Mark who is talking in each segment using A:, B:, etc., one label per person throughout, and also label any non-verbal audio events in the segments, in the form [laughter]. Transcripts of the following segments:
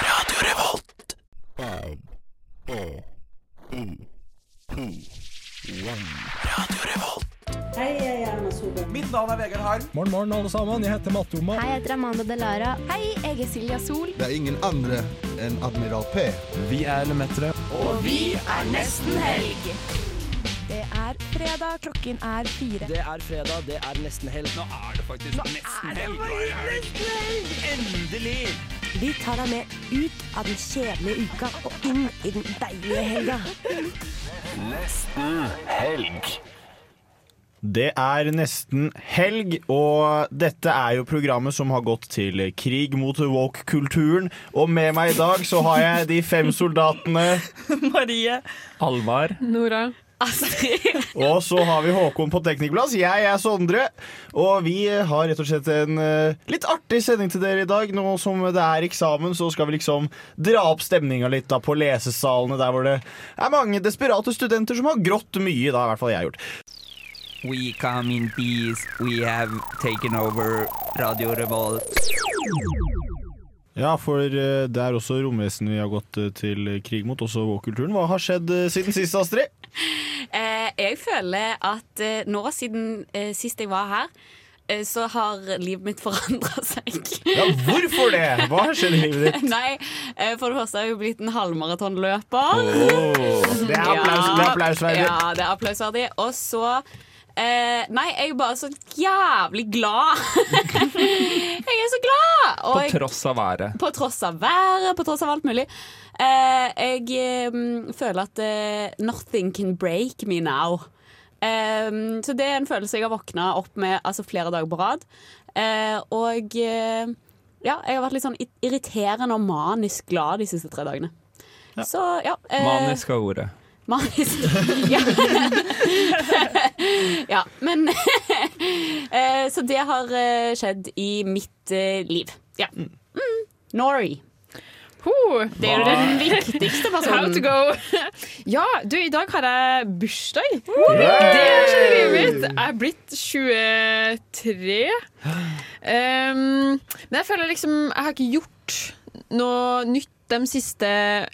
A: Radio Revolt.
B: Mitt navn er Vegard Harm.
C: Morgen, morgen, alle sammen. Jeg heter Matte Oma.
D: Hei, jeg heter Amanda Delara. Hei, jeg er Silja Sol.
E: Det er ingen andre enn Admiral P.
C: Vi er Lemetere.
D: Det er fredag, klokken er fire.
B: Det er fredag, det er nesten helg. Nå er det faktisk nesten helg. Endelig!
F: Vi tar deg med ut av den kjedelige uka og inn i den deilige helga.
G: Det er nesten helg, og dette er jo programmet som har gått til krig mot woke-kulturen. Og med meg i dag så har jeg de fem soldatene,
A: Marie.
C: Alvar.
G: [laughs] og så har vi Håkon på teknikkplass. Jeg er Sondre, og vi har rett og slett en eh, litt artig sending til dere i dag. Nå som det er eksamen, så skal vi liksom dra opp stemninga litt da på lesesalene der hvor det er mange desperate studenter som har grått mye, da i hvert fall jeg har gjort.
B: We come in peace. We have taken over Radio Revolt.
G: Ja, for eh, det er også romvesenet vi har gått eh, til krig mot, også våkulturen. Hva har skjedd eh, siden sist, Astrid?
H: Eh, jeg føler at eh, nå, siden eh, sist jeg var her, eh, så har livet mitt forandra seg. [laughs]
G: Ja, hvorfor det? Hva har skjedd i livet ditt?
H: Nei, eh, for det første har jeg jo blitt en halvmaratonløper.
G: Det er applaus, det er applausverdig.
H: Ja, det er applausverdig. Og så eh, Nei, jeg er bare så jævlig glad. [laughs] jeg er så glad! Og
C: På
H: jeg-
C: tross av været.
H: På tross av været, på tross av alt mulig. Eh, jeg eh, mm, føler at eh, nothing can break me now. Eh, så det er en følelse jeg har våkna opp med altså, flere dager på rad. Eh, og eh, ja, jeg har vært litt sånn i- irriterende og manisk glad de siste tre dagene. Så ja eh,
C: Manisk av ordet.
H: Manisk. ja. [laughs] ja, men [laughs] eh, Så det har eh, skjedd i mitt eh, liv. Ja. Mm. Nori.
I: Ho,
H: Det er jo den [laughs] viktigste
I: how to
H: personen.
I: go. ja, du, i dag har jeg bursdag. Det
G: Yay!
I: er ikke livet mitt. Jeg er blitt 23. Um, men jeg føler liksom Jeg har ikke gjort noe nytt de siste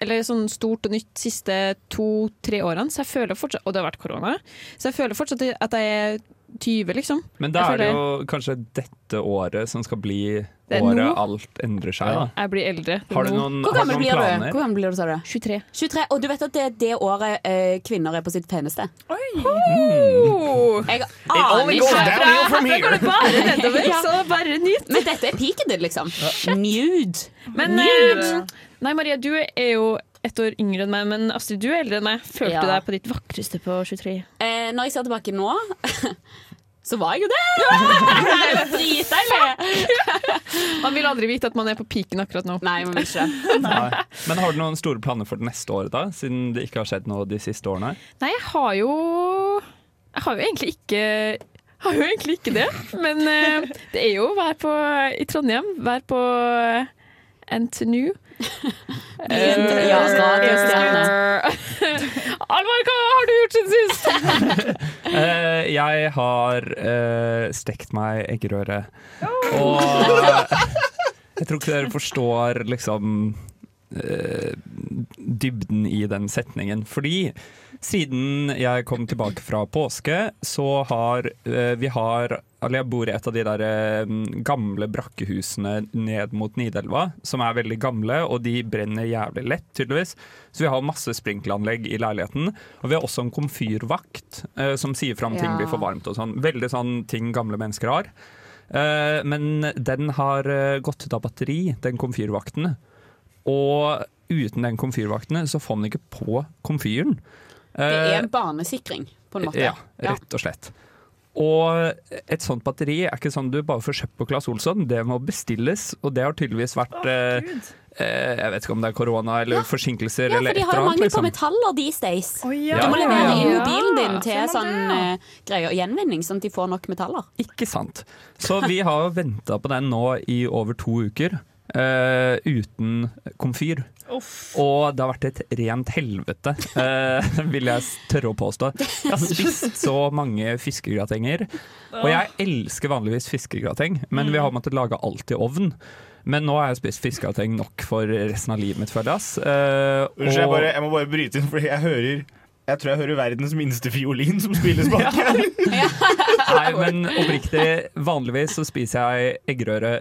I: Eller sånn stort og nytt siste to-tre årene, så jeg føler fortsatt Og det har vært korona. Så jeg føler fortsatt at jeg er 20, liksom.
C: Men da
I: Jeg
C: er det jo
I: føler-
C: kanskje dette året som skal bli
I: Det er
C: året
I: nå.
C: alt endrer seg. Da.
I: Jeg blir eldre.
C: Har du noen,
H: Hvor
C: har du
H: gammel
C: noen
H: blir du? Hvor
C: planer?
H: gammel blir du, sa du?
I: 23.
H: 23. Og du vet at det er det året eh, kvinner er på sitt peneste?
I: Oh.
C: Mm.
G: It
H: Jeg aner
G: only goes
H: ikke.
G: downhill from here.
I: Bare nedover, så bare nytt.
H: Men dette er piken din, liksom. Nude.
I: Men
H: Nude.
I: eh, Nei, Maria, du er jo ett år yngre enn meg, men Astrid, du er eldre enn meg. Følte
H: Ja.
I: du deg på ditt vakreste på 23?
H: Eh, når jeg ser tilbake nå [laughs] så var jeg jo det! Det er [laughs] jo Dritdeilig!
I: Man vil aldri vite at man er på piken akkurat nå.
H: Nei, man vil ikke det.
C: Nei. Men har du noen store planer for det neste året, da? Siden det ikke har skjedd noe de siste årene?
I: Nei, jeg har jo Jeg har jo egentlig ikke jeg har jo egentlig ikke det, men eh, det er jo å være på, i Trondheim, være på eh, NTNU.
H: Bli en radiostjerne.
I: Eh, [laughs] Alvar, hva har du gjort siden sist?
C: Eh, jeg har eh, stekt meg eggerøre. Og eh, jeg tror ikke dere forstår liksom eh, dybden i den setningen. Fordi siden jeg kom tilbake fra påske, så har eh, vi har Eller jeg bor i et av de der eh, gamle brakkehusene ned mot Nidelva, som er veldig gamle, og de brenner jævlig lett, tydeligvis. Så vi har masse sprinkleranlegg i leiligheten. Og vi har også en komfyrvakt eh, som sier fra om ting
H: Ja.
C: blir for varmt og sånn. Veldig sånn ting gamle mennesker har. Eh, men den har eh, gått ut av batteri, den komfyrvakten. Og uten den komfyrvakten så får man ikke på komfyren.
H: Det er en barnesikring, på en måte.
C: Eh, Ja, rett og slett. Og et sånt batteri er ikke sånn du bare får kjøpt på Claes Olsson, det må bestilles. Og det har tydeligvis vært eh, eh, Jeg vet ikke om det er korona eller forsinkelser
H: Ja, for
C: eller
H: de
C: et eller
H: har jo
C: annet.
H: mangel på
C: Liksom.
H: metaller these days.
C: Ja.
H: Du må levere inn
I: Ja.
H: mobilen din til sånn uh, greier gjenvinning, sånn at de får nok metaller.
C: Ikke sant. Så vi har venta på den nå i over to uker.
G: eh, uten komfyr. Og det har vært et rent helvete, eh, vil jeg s- tørre å påstå. Jeg har spist så mange fiskegratenger. Og jeg elsker vanligvis fiskegrateng, men vi har måttet lage alt i ovn. Men nå har jeg spist fiskegrateng nok for resten av livet mitt, føler jeg. ass. Eh,
E: Unnskyld, jeg,
G: og-
E: bare, jeg må bare bryte inn, fordi jeg hører jeg tror jeg hører verdens minste fiolin som spilles bak her.
G: Nei, men oppriktig, vanligvis så spiser jeg eggerøre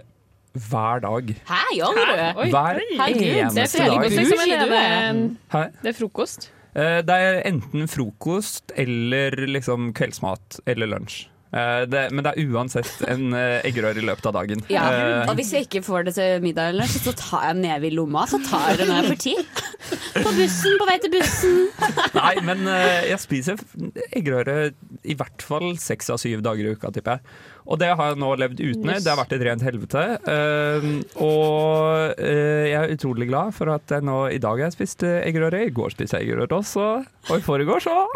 G: hver dag.
H: Hæ, gjør du det?
D: Oi.
G: Hver
H: Herregud,
D: Det er
G: eneste dag.
D: frokost, liksom,
H: Du,
D: eller er det,
G: Hæ?
D: det er frokost.
G: Eh, Det er enten frokost eller liksom kveldsmat eller lunsj. Eh, Det, men det er uansett en eh, eggerøre i løpet av dagen.
H: Ja,
G: Eh,
H: og hvis jeg ikke får det til middag, eller, så tar jeg den ned i lomma. Så tar jeg det når jeg får tid. På bussen, på vei til bussen.
G: nei, men eh, jeg spiser f- eggerøre i hvert fall seks av syv dager i uka, tipper jeg. Og det har jeg nå levd uten i. Det har vært et rent helvete. Eh, og eh, jeg er utrolig glad for at jeg nå i dag har jeg spist eh, eggerøre. I går spiste jeg eggerøre også, og i forgårs òg.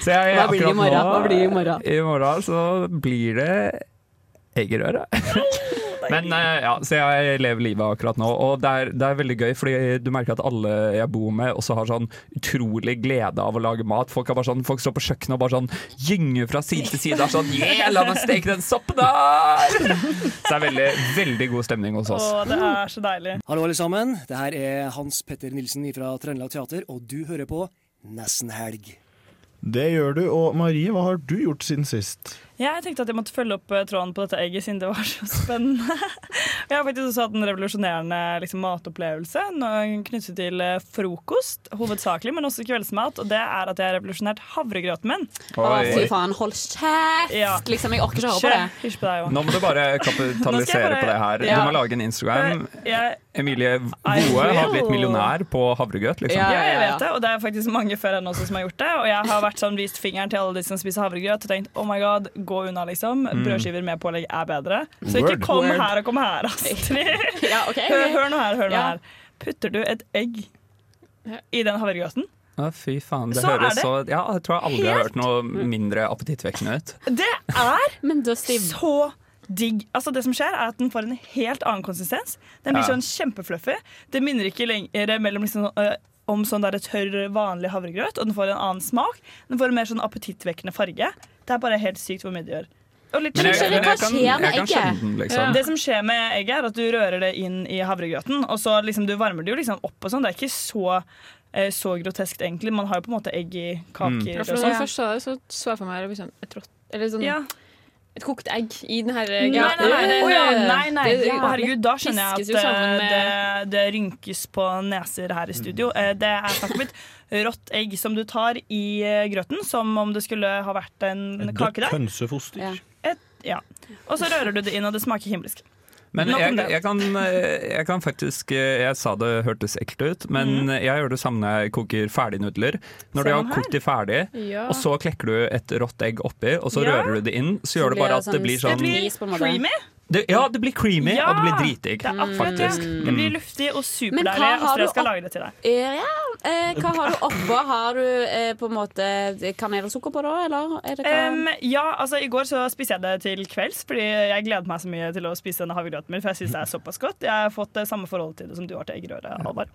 G: Så jeg,
H: Hva blir det i
G: akkurat
H: morgen?
G: nå-
H: Hva blir det i morgen?
G: I morgen så blir det eggerøre. Men eh, ja, så jeg lever livet akkurat nå, og det er, det er veldig gøy, fordi du merker at alle jeg bor med også har sånn utrolig glede av å lage mat. Folk, er bare sånn, folk står på kjøkkenet og bare sånn gynger fra side til side. Er sånn, yeah, la meg steke den soppen der! Så det er veldig, veldig god stemning hos oss.
I: det er så deilig.
J: Hallo, alle sammen. Det her er Hans Petter Nilsen fra Trøndelag Teater, og du hører på Nesten Helg.
E: Det gjør du. Og Marie, hva har du gjort siden sist?
I: Jeg tenkte at jeg måtte følge opp eh, tråden på dette egget, siden det var så [laughs] spennende. Og jeg har faktisk også hatt en revolusjonerende liksom, matopplevelse nå- knyttet til eh, frokost, hovedsakelig, men også kveldsmat. Og det er at jeg har revolusjonert havregrøten min.
H: Å, fy faen, hold kjeft!
I: Ja.
H: Liksom, jeg orker ikke å høre på det.
I: Hysj på deg òg.
G: Nå må du bare
I: Nå skal jeg
G: kapitalisere
I: bare-
G: på det her. Du
I: Ja.
G: må lage en Instagram.
I: Eh, Jeg,
G: Emilie Voe har blitt millionær på havregrøt, liksom.
H: Ja.
I: ja, jeg vet det, og det er faktisk mange før henne også som har gjort det. Og jeg har vært sånn, vist fingeren til alle de som spiser havregrøt og tenkt oh my god, gå unna, liksom. Brødskiver med pålegg er bedre. Så ikke
E: Word.
I: kom
H: Word.
I: her og kom her, [laughs] Astrid.
H: Ja, ok.
I: Hør, hør nå her, hør nå
H: Ja.
I: her. Putter du et egg i den havregrøten?
G: Å, fy faen. Det
I: Så er
G: høres
I: det
G: så Ja, jeg tror jeg aldri har hørt noe mindre appetittvekkende ut.
I: Det er
H: Men da stiv...
I: så digg. Altså Det som skjer, er at den får en helt annen konsistens. Den blir
G: Ja.
I: sånn kjempefluffy. Det minner ikke lenger mellom liksom, øh, om sånn der tørr, vanlig havregrøt, og den får en annen smak. Den får en mer sånn appetittvekkende farge. Det er bare helt sykt hvor mye det gjør. Og litt
H: Men jeg
I: chili.
H: skjønner hva
G: kan,
H: skjer med
G: jeg kan
H: egget.
G: skjønne den, liksom.
I: Det som skjer med egget, er at du rører det inn i havregrøten, og så liksom, du varmer det jo liksom opp og sånn. Det er ikke så, eh, så groteskt, egentlig. Man har jo på en måte egg i kaker
D: Ja, for
I: og
D: når
I: sånn.
D: jeg først sa det, så så jeg for meg det
H: liksom,
D: blir sånn et rått Eller sånn
I: Ja.
D: et kokt egg i den her
H: eh,
I: Nei, nei, nei, nei,
D: Å, ja.
I: nei, nei, nei.
D: Det-
I: Ja, Herregud, da skjønner
D: Piskes
I: jeg
D: jo
I: at
D: sammen
I: eh,
D: med-
I: det, det rynkes på neser her i studio. Eh, Det er snakk om et rått egg som du tar i eh, grøten, som om det skulle ha vært en kake der.
E: hønsefoster.
H: Ja.
I: Ja. Og så rører du det inn, og det smaker himmelsk.
G: Men
I: Nok om
G: jeg,
I: det.
G: jeg, kan, eh, jeg kan faktisk eh, Jeg sa det hørtes ekkelt ut, men jeg gjør det samme når jeg koker ferdignudler. Når
I: Se
G: du har
I: den her.
G: kokt de ferdig,
D: Ja.
G: og så klekker du et rått egg oppi, og så
I: Ja.
G: rører du det inn, så gjør det bare at det blir
I: Det
G: sånn
I: blir
H: Is på en måte.
I: creamy.
G: det, Ja, det blir creamy,
I: Ja.
G: og det blir dritdigg,
I: Det er akkurat det.
G: faktisk. Mm.
I: Det blir luftig og
H: Men hva
I: superdeilig.
H: har
I: Astrid,
H: du
I: jeg skal
H: opp-
I: lage det til deg.
H: Eh, Ja, eh, hva har du oppå? Har du eh, på en måte eh, kanel og sukker på da, eller er det hva?
I: Em, ja, altså I går så spiste jeg det til kvelds, fordi jeg gleder meg så mye til å spise denne havregrøten min. For jeg synes det er såpass godt Jeg har fått det samme forholdet til det som du har til eggerøre. Halvard.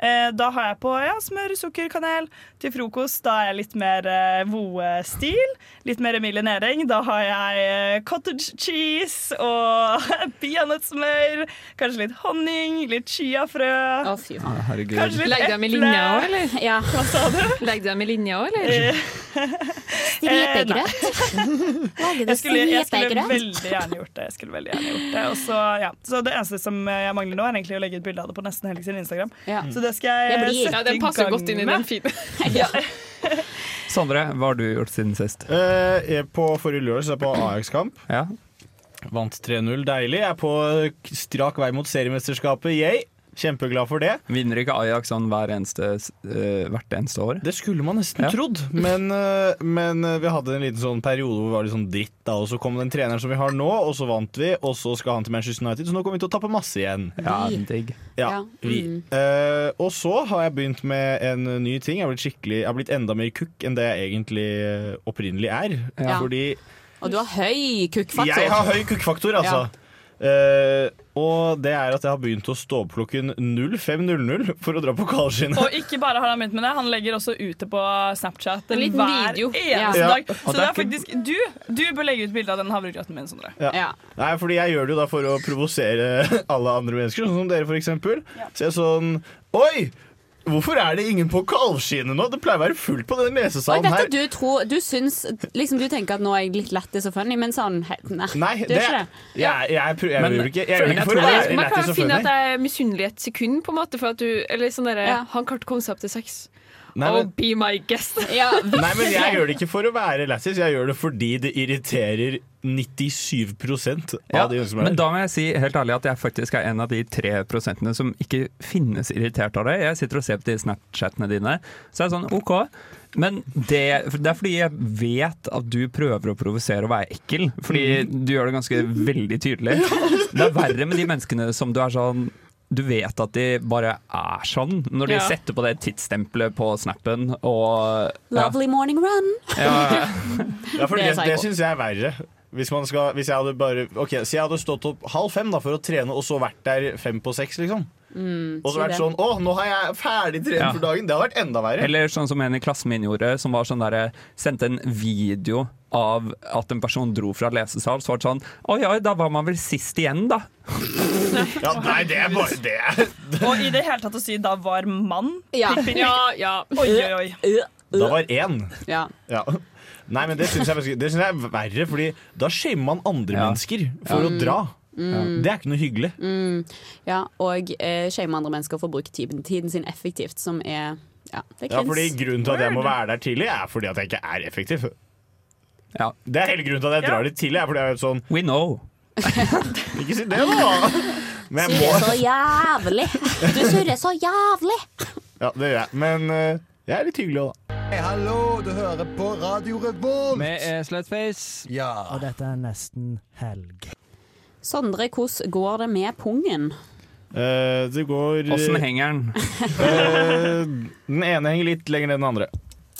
I: Eh, da har jeg på ja, smør, sukker, kanel. Til frokost da er jeg litt mer eh, Voe-stil. Litt mer Emilie Næring. Da har jeg eh, cottage cheese og [laughs] peanøttsmør. Kanskje litt honning, litt chiafrø.
H: Å, fy faen.
G: Herregud.
I: Kanskje litt
D: Legg deg med linja òg, eller?
H: Ja.
D: Legg deg med linja òg, eller? Eh, [laughs]
I: Stripegrøt.
F: Lage
I: Jeg skulle, jeg skulle veldig gjerne gjort det. Jeg skulle veldig gjerne gjort det. Og så, ja. så det eneste som jeg mangler nå, er egentlig å legge ut bilde av det på Nesten Helg sin Instagram.
H: Ja.
D: Mm.
I: Så det skal jeg,
H: Jeg blir-
D: Ja,
I: sette
D: den passer godt inn i den
I: med.
D: fine.
G: Sondre, hva har du gjort siden sist?
E: Eh, på forrige lørdag så er jeg på Ajax-kamp.
G: Ja.
E: Vant 3-0, deilig. Jeg er på strak vei mot seriemesterskapet. Yay! Kjempeglad for det.
G: Vinner ikke Ajax sånn hver eneste, eh, hvert eneste år?
E: Det skulle man nesten
G: Ja.
E: trodd, men, eh, men eh, vi hadde en liten sånn periode hvor vi var litt sånn dritt, da, og så kom den treneren som vi har nå, og så vant vi, og så skal han til Manchester United, så nå kommer vi til å tappe masse igjen.
G: Ja, digg.
E: Ja,
H: Ja, Mm.
E: vi. Eh, og så har jeg begynt med en ny ting. Jeg har blitt, skikkelig- jeg har blitt enda mer kukk enn det jeg egentlig eh, opprinnelig er.
H: Ja.
E: Fordi
H: Og du har høy
E: jeg
H: kukkfaktor.
E: har høy kukkfaktor, altså. Eh, Og det er at jeg har begynt å stå opp klokken 05.00 for å dra på Kalskinnet.
I: Og ikke bare har han begynt med det, han legger også ut det på Snapchat
D: En liten
I: hver
D: video.
I: eneste
E: Ja.
I: dag.
E: Ja.
I: Så
E: Og det
I: det
E: er
I: er faktisk Du, du bør legge ut bilde av den havregrøten min, Sondre.
E: Ja. Nei, fordi jeg gjør det jo da for å provosere alle andre mennesker, sånn som dere for eksempel. Så jeg er sånn Oi! Hvorfor er det ingen på Kalvskinnet nå? Det pleier å være fullt på denne
H: Og jeg
E: lesesalen
H: vet
E: her.
H: at du tror Du syns liksom, Du tenker at nå er jeg litt lættis og funny, men sånn he- Nei,
E: Nei,
H: du
E: det,
H: er ikke det.
E: Jeg, jeg, prøver- jeg,
G: Men-
E: gjør ikke, jeg gjør
G: men
E: ikke
G: jeg
E: for å
G: tror-
E: være
D: Man kan
E: lættis
D: jo
E: og
D: finne at
E: funny.
D: jeg er misunnelig et sekund, på en måte, for at du Eller sånn derre Han klarte å komme seg opp til sex.
E: Nei,
D: oh,
E: men-
D: be my guest.
E: Nei, men
D: [laughs]
E: jeg gjør det ikke for å være lættis, jeg gjør det fordi det irriterer 97 av
G: Ja,
E: de som er
G: men
E: der.
G: da må jeg si helt ærlig at jeg faktisk er en av de tre prosentene som ikke finnes irritert av det. Jeg sitter og ser på de Snapchatene dine, så er jeg sånn OK. Men det, det er fordi jeg vet at du prøver å provosere og være ekkel. Fordi
E: Mm.
G: du gjør det ganske veldig
E: [laughs]
G: tydelig. Det er verre med de menneskene som du er sånn du vet at de bare er sånn, når de
H: Ja.
G: setter på det tidsstempelet på snappen og ja.
H: Lovely morning run.
G: Ja,
E: Ja, for
H: Det
E: det,
H: er
E: det
H: psycho.
E: syns jeg er verre. Hvis, man skal, hvis jeg hadde bare Ok, Si jeg hadde stått opp halv fem da for å trene, og så vært der fem på seks, liksom.
H: Mm,
E: Og så
H: si
E: vært
H: det.
E: sånn Å, nå har jeg ferdig trent
G: Ja.
E: for dagen. Det hadde vært enda verre.
G: Eller sånn som en i klassen min gjorde, som var sånn der, sendte en video av at en person dro fra lesesal. Så var det sånn Oi, oi, da var man vel sist igjen, da.
E: ja, nei, det er bare det. er-
I: Og i det hele tatt å si 'da var mann'
D: Ja.
I: Prikk, prikk, prikk.
D: ja, ja.
I: Oi, oi, oi.
E: Da var én.
H: Ja.
E: Ja. Nei, men det syns jeg, faktisk- det synes jeg er verre, Fordi da shamer man andre mennesker for å dra.
H: Mm.
E: Det er ikke noe hyggelig.
H: Mm, ja, og eh, shame andre mennesker for å bruke tiden, tiden sin effektivt, som er Ja, det er
E: Ja, fordi
H: cringe.
E: Grunnen til at jeg må være der tidlig, er fordi at jeg ikke er effektiv.
G: Ja.
E: Det er hele grunnen til at jeg
I: Ja.
E: drar litt tidlig. Er fordi jeg er sånn
G: We know.
E: Ikke si det, da! Men jeg
F: Surrer
E: må
F: så jævlig. Du surrer så jævlig.
E: Ja, det gjør jeg. Men eh, jeg er litt hyggelig òg, da.
K: Hei, hallo, du hører på Radio Revolt!
C: slutface.
K: Ja.
L: dette er nesten helg.
H: Sondre, hvordan går det med pungen?
E: Eh, det går
G: Åssen henger den?
E: Eh, [laughs] Den ene henger litt lenger ned enn den andre.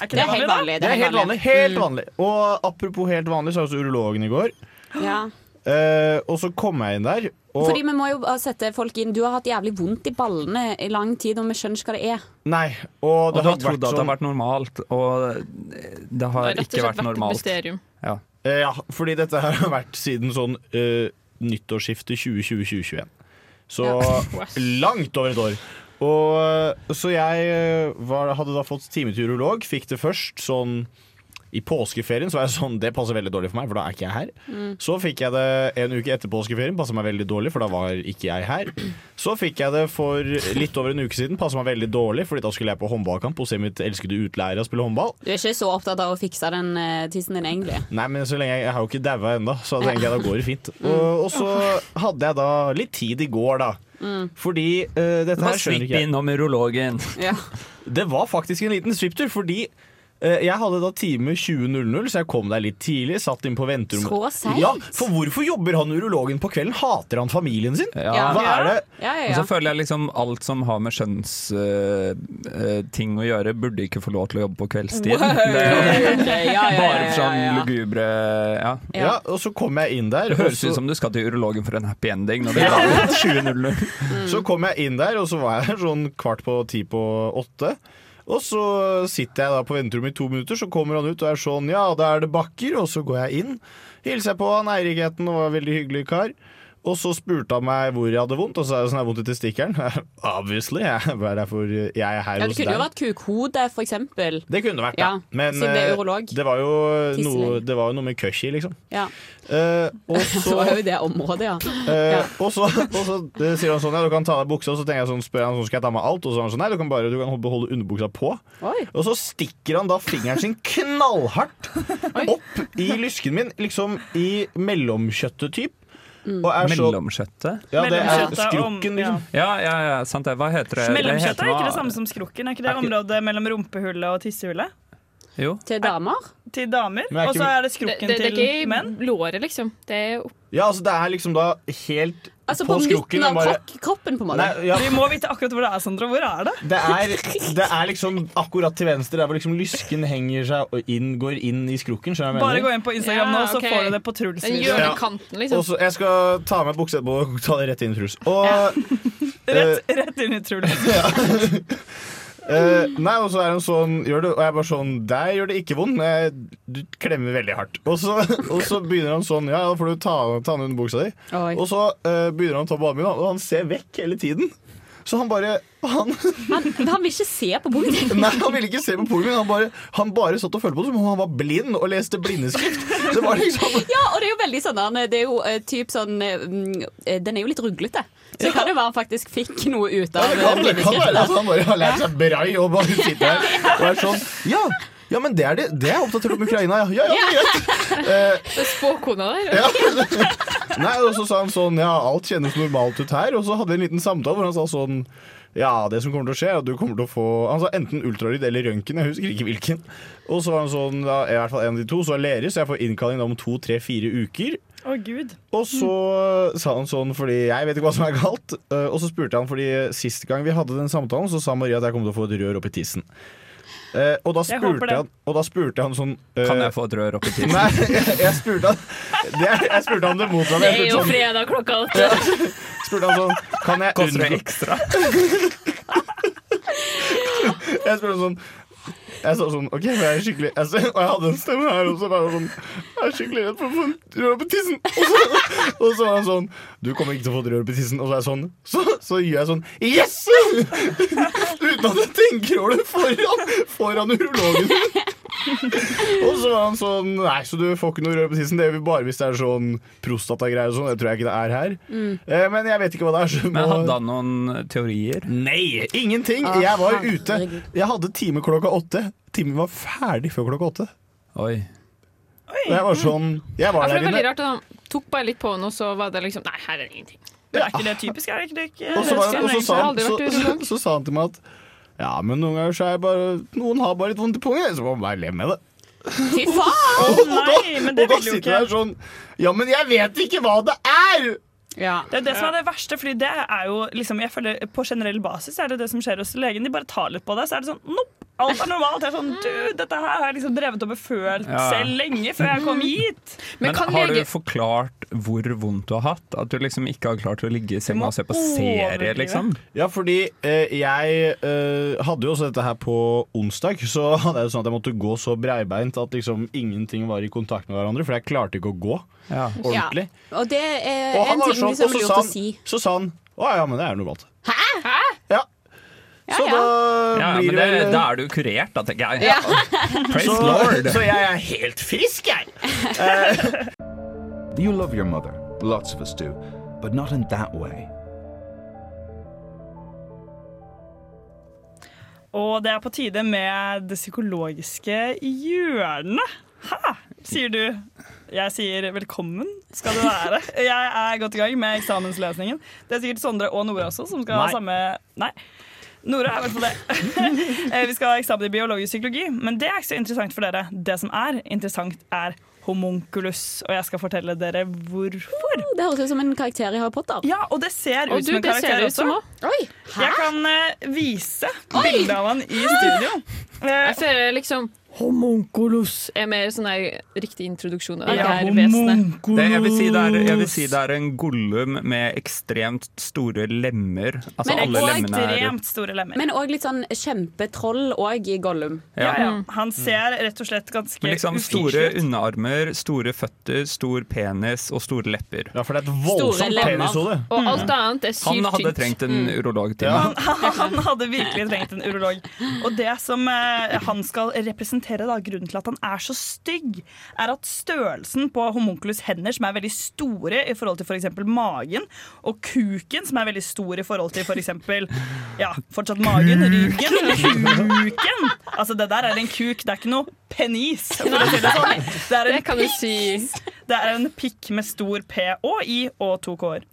I: Er
H: Det
I: ikke det
H: er helt
I: vanlig, da?
H: vanlig.
E: Det er helt vanlig. Helt vanlig. Og apropos helt vanlig, så er også urologen i går.
H: Ja.
E: Eh, og så kom jeg inn der, og
H: Fordi vi må jo bare sette folk inn Du har hatt jævlig vondt i ballene i lang tid, og vi skjønner ikke hva det er.
E: Nei. Og
G: Og du
E: det har
G: har trodd
E: vært
G: at det
E: sånn
G: har vært normalt, og eh, det
D: Det
G: har
D: har rett og
G: ikke
D: slett
G: vært
D: vært et
G: normalt.
D: mysterium.
G: Ja.
E: Eh, Ja, fordi dette her har vært siden sånn eh, nyttårsskiftet 2020-2021. Så langt over et år. Og, eh, så jeg eh, var, hadde da fått time til urolog, fikk det først sånn i påskeferien så var jeg sånn, det passer veldig dårlig for meg, for da er ikke jeg her. Så fikk jeg det en uke etter påskeferien, passet meg veldig dårlig, for da var ikke jeg her. Så fikk jeg det for litt over en uke siden, passet meg veldig dårlig, fordi da skulle jeg på håndballkamp og se mitt elskede utleier spille håndball.
H: Du er ikke så opptatt av å fikse den eh, tissen din, egentlig.
E: Nei, men så lenge jeg, jeg har jo ikke daua ennå, så da tenker jeg da går det fint.
H: Mm.
E: Og, og så hadde jeg da litt tid i går, da.
H: Mm.
E: Fordi eh, dette
G: Bare
E: her skjønner
G: svipp
E: ikke jeg.
G: innom urologen.
H: Ja.
E: Det var faktisk en liten svipptur, fordi eh, jeg hadde da time 20.00, så jeg kom der litt tidlig. Satt inn på venterommet.
H: Så seigt.
E: Ja, for hvorfor jobber han urologen på kvelden? Hater han familien sin?
G: Ja.
E: Hva er det? Altså,
H: Ja, ja,
G: Og
H: ja.
G: så føler jeg liksom alt som har med kjønnsting å gjøre, burde ikke få lov til å jobbe på kveldstid. Det er
H: Ok, ja, ja, ja,
G: bare
H: ja,
G: sånn
H: ja, ja.
G: lugubre Ja.
E: Ja. og så kom jeg inn der.
G: Det høres
E: og så-
G: ut som du skal til urologen for en happy ending når du lager [laughs] 2000.
E: Så
H: Mm.
E: kom jeg inn der, og så var jeg [laughs] her sånn kvart på ti på åtte. Og så sitter jeg da på venterommet i to minutter, så kommer han ut og er sånn Ja, da er det bakker. Og så går jeg inn. Hilser jeg på han Eirik het han, og var en veldig hyggelig kar. Og så spurte han meg hvor jeg hadde vondt, og så er det sånn jeg har vondt i testikkelen. [laughs] Obviously. Jeg er derfor jeg er her
H: ja, det
E: hos
H: kunne jo
E: deg.
H: vært kukhode, for eksempel.
E: Det kunne det vært,
H: Ja,
E: ja. Men
H: siden det er
E: eh,
H: urolog.
E: det var jo noe,
H: Tisseleg.
E: det var jo noe med køsj i, liksom.
H: Ja.
E: Eh,
H: [laughs]
E: og
H: Det
E: så
H: var jo det området, ja.
E: Eh, og så, [laughs] og så eh, sier han sånn, ja, du kan ta deg buksa, og så tenker jeg sånn, spør han sånn, skal jeg ta med alt? Og så er han sånn, nei, du kan bare du kan beholde underbuksa på.
H: Oi.
E: Og så stikker han da fingeren sin
I: [laughs]
E: knallhardt opp i lysken min, liksom i mellomkjøttet typ. Og er så,
G: Mellomkjøttet?
E: ja, det er
I: Mm. Mellomkjøttet om-
E: skrukken,
I: ja.
E: liksom.
G: Ja, ja, ja, sant det. Hva heter
E: Eh,
G: det?
I: Mellomkjøttet
G: heter
I: er ikke
G: noe-
I: det samme som skrukken? Er ikke det
G: Er ikke-
I: området mellom rumpehullet og tissehullet?
G: Jo.
H: Til damer.
I: Til damer?
E: Men er
I: Og så
E: ikke-
I: er det
D: Det,
I: skrukken
D: det, det er
I: til
D: ikke i
I: menn?
D: låret, liksom. Det er opp...
E: Ja, altså det er liksom da helt
H: Altså på,
E: skrukken,
H: midten av
E: bare-
H: krok- kroppen, på en måte.
E: Nei, ja.
I: Vi må vite akkurat hvor det er, Sondre. Hvor er det?
E: Det er, det er liksom akkurat til venstre, der hvor liksom lysken henger seg og inn, går inn i skrukken. skjønner du hva
I: Bare
E: jeg
I: gå
E: mener?
I: inn på Instagram nå,
D: Ja,
I: så
D: ok.
I: får du det på Truls.
D: Den
I: video.
D: hjørnekanten, liksom.
E: Og så- jeg skal ta av meg buksa etterpå og ta det rett inn i Truls. Og, eh,
I: Rett, rett inn i Truls.
E: eh, nei, og så er hun sånn gjør det, Og jeg er bare sånn Der gjør det ikke vondt, men jeg- du klemmer veldig hardt. Og så, [laughs] og så begynner han sånn Ja, da får du ta, ta den under buksa di. Og så eh, begynner han å ta på armen min, og han ser vekk hele tiden. Så han bare Han [laughs]
H: Han, han vil ikke se på boken.
E: Nei, han ville ikke se på pornoen min. Han bare, han bare satt og følte på det som om han var blind og leste blindeskrift. Det var liksom
H: Ja, og det er jo veldig sånn han- Det er jo eh, typ sånn eh, mm, eh, Den er jo litt ruglete. Så det kan jo være han faktisk fikk noe ut av
E: [laughs] Ja, det kan, det kan være at
H: blindeskriften.
E: han bare har lært seg brai og bare sitter her og er sånn Ja, ja men det er det, det er jeg oppdatert om Ukraina, ja. Ja, ja, men greit. Eh,
D: Det er spåkona der.
E: Ja. Nei, og så sa han sånn Ja, alt kjennes normalt ut her. Og så hadde vi en liten samtale hvor han sa sånn ja, det som kommer til å skje er at du kommer til å få Han sa enten ultralyd eller røntgen. Jeg husker ikke hvilken. Og så var han sånn, ja, i hvert fall en av de to, så er Lerøy, så jeg får innkalling om to, tre, fire uker.
I: Å, gud.
E: Og så sa han sånn fordi jeg vet ikke hva som er galt. Eh, Og så spurte han fordi sist gang vi hadde den samtalen, så sa Maria at jeg kom til å få et rør opp i tissen. Eh, og, da
G: Jeg håper
E: spurte
G: det.
E: han, og da spurte han sånn
G: Kan
E: eh,
G: jeg få et rør [laughs] opp i tissen?
E: [laughs] Nei, jeg, jeg spurte han det, Jeg spurte han det motsatte.
D: Det
E: Jeg
D: er jo
E: spurte sånn,
D: fredag klokka åtte.
E: spurte han sånn Kan jeg
G: Koster det
E: ekstra? Jeg spurte sånn jeg sa sånn, ok, men jeg er skikkelig jeg, sa- Og jeg hadde en stemme her også bare sånn Jeg er skikkelig redd for å få en rør opp i tissen og så, og så var han sånn Du kommer ikke til å få et rør opp i tissen Og så er jeg sånn, så, så gjør jeg sånn Yes! Uten at jeg tenker over det foran, foran urologen Og så var han sånn Nei, så du får ikke noe rør opp i tissen Det gjør vi bare hvis det er sånn prostatagreier og sånn Det tror jeg ikke det er her
G: Mm.
E: eh, Men jeg vet ikke hva det er
G: [laughs]
E: så
G: Men
E: må-
G: hadde han noen teorier?
E: Nei, ingenting.
G: Ah,
E: Jeg var
G: herregud.
E: ute. Jeg hadde time klokka åtte. Timen var ferdig før klokka åtte.
G: Oi.
E: Og Jeg var sånn Jeg
D: Ja,
E: var
D: for det
E: der
D: er veldig
E: inne.
D: rart at han tok bare litt på henne, og så var det liksom Nei, her er det ingenting.
I: Men er ikke det typisk? Er det ikke det? Ikke?
E: Og så, var, og så, sa, han,
D: Jeg har
E: så,
D: aldri vært
E: [laughs] så,
D: urolog.
E: så sa han til meg at ja, men noen ganger så er jeg bare Noen har bare litt vondt i pungen. Så må man bare le med det.
H: Fy
E: Og
H: faen!
E: da, og da sitter jeg der sånn Ja, men jeg vet ikke hva det er!
I: Det er jo det som er det verste, fordi det er jo liksom, jeg føler På generell basis er det det som skjer hos legen. De bare tar litt på deg, så er det sånn nope, alt er normalt. Det er sånn, du, dette her har jeg liksom drevet og befølt
G: Ja.
I: selv lenge før jeg kom hit.
G: Men har du forklart hvor vondt du har hatt? At du liksom ikke har klart å ligge i senga og se på serie,
E: Overdrive.
G: liksom?
E: Ja, fordi eh, jeg eh, hadde jo også dette her på onsdag. Så [laughs] hadde jeg det sånn at jeg måtte gå så breibeint at liksom ingenting var i kontakt med hverandre. For jeg klarte ikke å gå ordentlig.
H: Ja. Og det er
E: Og han
H: en
E: var
H: ting
E: sånn,
H: som
E: og
H: er
E: så
H: lurt
E: sa
H: å
E: han,
H: si.
E: så sa han Å ja, men det er normalt.
H: Hæ?
E: Så da
G: Ja,
E: blir
G: men
E: det
G: det,
E: vel
G: da er du kurert, da, tenker jeg.
E: Ja.
G: Praise
E: så,
G: Lord.
E: så jeg er helt frisk, jeg!
M: You love your mother, lots of us do, but not in that way.
I: Og det er på tide med det psykologiske hjørnet. Hæ, sier du. Jeg sier velkommen skal du være. Jeg er godt i gang med eksamenslesningen. Det er sikkert Sondre og Nora også som skal ha
N: Nei.
I: samme Nei. Nora er i hvert fall det. [laughs] Eh, Vi skal ha eksamen i biologisk psykologi, men det er ikke så interessant for dere. Det som er interessant, er homunculus, og jeg skal fortelle dere hvorfor.
H: [laughs] Det høres ut som en karakter i Harry Potter.
I: Ja, og det ser
H: Og
I: ut
H: du,
I: som en
H: det ser
I: karakter
H: det ut som
I: også.
H: Oi, hæ?
I: Jeg kan eh, vise
D: Oi!
I: bildet av han i
H: [laughs]
I: studio. Eh,
D: Jeg føler liksom Homunculus er mer sånn her riktig introduksjon av det
I: Ja,
D: her vesenet.
G: Det, jeg, vil si det er, jeg vil si det er en gollum med ekstremt store lemmer. Altså
H: Men
G: alle
H: og
G: lemmene er
I: store lemmer.
H: Men òg litt sånn kjempetroll òg i Gollum.
G: Ja. Ja, ja.
I: Han ser rett og slett ganske
G: Men liksom store underarmer, store føtter, stor penis og store lepper.
E: Ja, for det er et
D: Store lemmer.
E: Mm.
D: Og alt annet er sykt
G: Han hadde
D: tynt.
G: trengt en
D: Mm.
G: urologtime.
I: [laughs] Han hadde virkelig trengt en urolog. Og det som eh, han skal representere, da, grunnen til at han er så stygg, er at størrelsen på homunculus hender, som er veldig store i forhold til f.eks. eksempel magen, og kuken, som er veldig stor i forhold til f.eks. eksempel ja, fortsatt magen, ryggen, kuken. Altså, det der er en kuk, det er ikke noe penis. For å si det sånn. Det er en
D: Det kan du
I: pikk. Det er en pikk med stor P og I og to K-er.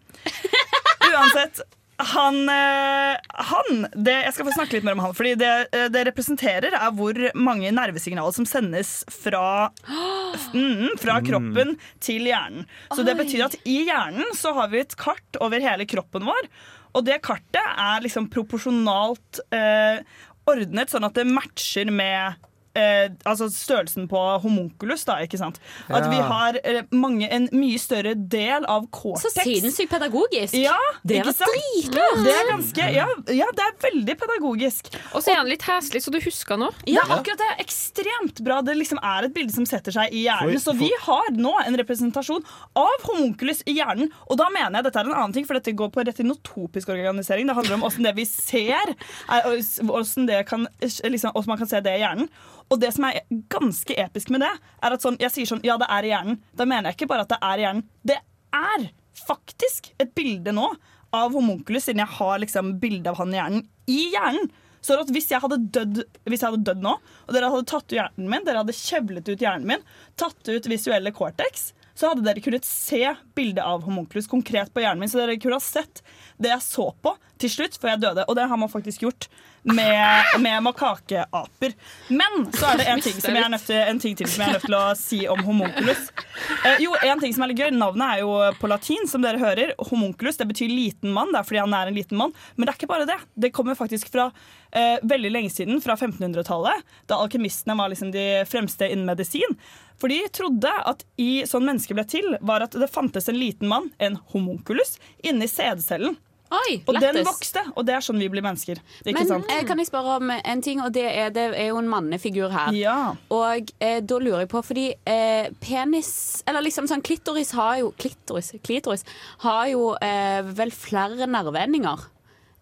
I: Uansett, han, eh, han det, Jeg skal få snakke litt mer om han. Fordi det, eh, det representerer er hvor mange nervesignaler som sendes fra, mm, fra
N: Mm.
I: kroppen til hjernen. Så det
N: Oi.
I: betyr at i hjernen så har vi et kart over hele kroppen vår. Og det kartet er liksom proporsjonalt eh, ordnet sånn at det matcher med Eh, altså størrelsen på homunculus, da, ikke sant. At vi
H: Ja.
I: har eh, mange, en mye større del av cortex.
H: Så sinnssykt pedagogisk.
I: Ja,
H: det
I: ikke
H: var
I: sant? Mm.
H: dritlurt.
I: Det er ganske, ja, ja, det er veldig pedagogisk. Og så er han litt heslig, så du husker nå. Ja,
D: Ja.
I: akkurat det er ekstremt bra. Det liksom er et bilde som setter seg i hjernen.
D: Oi,
I: Så vi har nå en representasjon av homunculus i hjernen. Og da mener jeg dette er en annen ting, for dette går på retinotopisk organisering. Det handler om hvordan det vi ser, er, og s- hvordan, det kan, liksom, hvordan man kan se det i hjernen. Og det som er ganske episk med det, er at sånn, jeg sier sånn, ja, det er i hjernen. Da mener jeg ikke bare at det er i hjernen. Det er faktisk et bilde nå av homunculus, siden jeg har liksom bilde av han i hjernen i hjernen. Så at hvis jeg hadde dødd, hvis jeg hadde dødd nå, og dere hadde tatt ut hjernen min, dere hadde kjevlet ut hjernen min, tatt ut visuelle cortex, så hadde dere kunnet se bildet av homunculus konkret på hjernen min. Så dere kunne ha sett det jeg så på til slutt før jeg døde. Og det har man faktisk gjort med, med makakeaper. Men så er det en ting, som jeg er nødt til, en ting til som jeg er nødt til å si om homunculus. Eh, jo, en ting som er litt gøy Navnet er jo på latin, som dere hører. Homunculus det betyr liten mann. Det er fordi han er en liten mann. Men det er ikke bare det. Det kommer faktisk fra eh, veldig lenge siden, fra 1500-tallet, da alkymistene var liksom de fremste innen medisin. For de trodde at i sånn mennesket ble til, var at det fantes en liten mann, en homunculus, inni sædcellen. og den
H: lættis.
I: vokste, og det er sånn vi blir mennesker. Ikke
H: Men
I: sant?
H: eh, kan jeg spørre om en ting, og det er, det er jo en mannefigur her. Og eh, da lurer jeg på, fordi eh, penis Eller liksom sånn klitoris har jo Klitoris, klitoris har jo eh, vel flere nerveendinger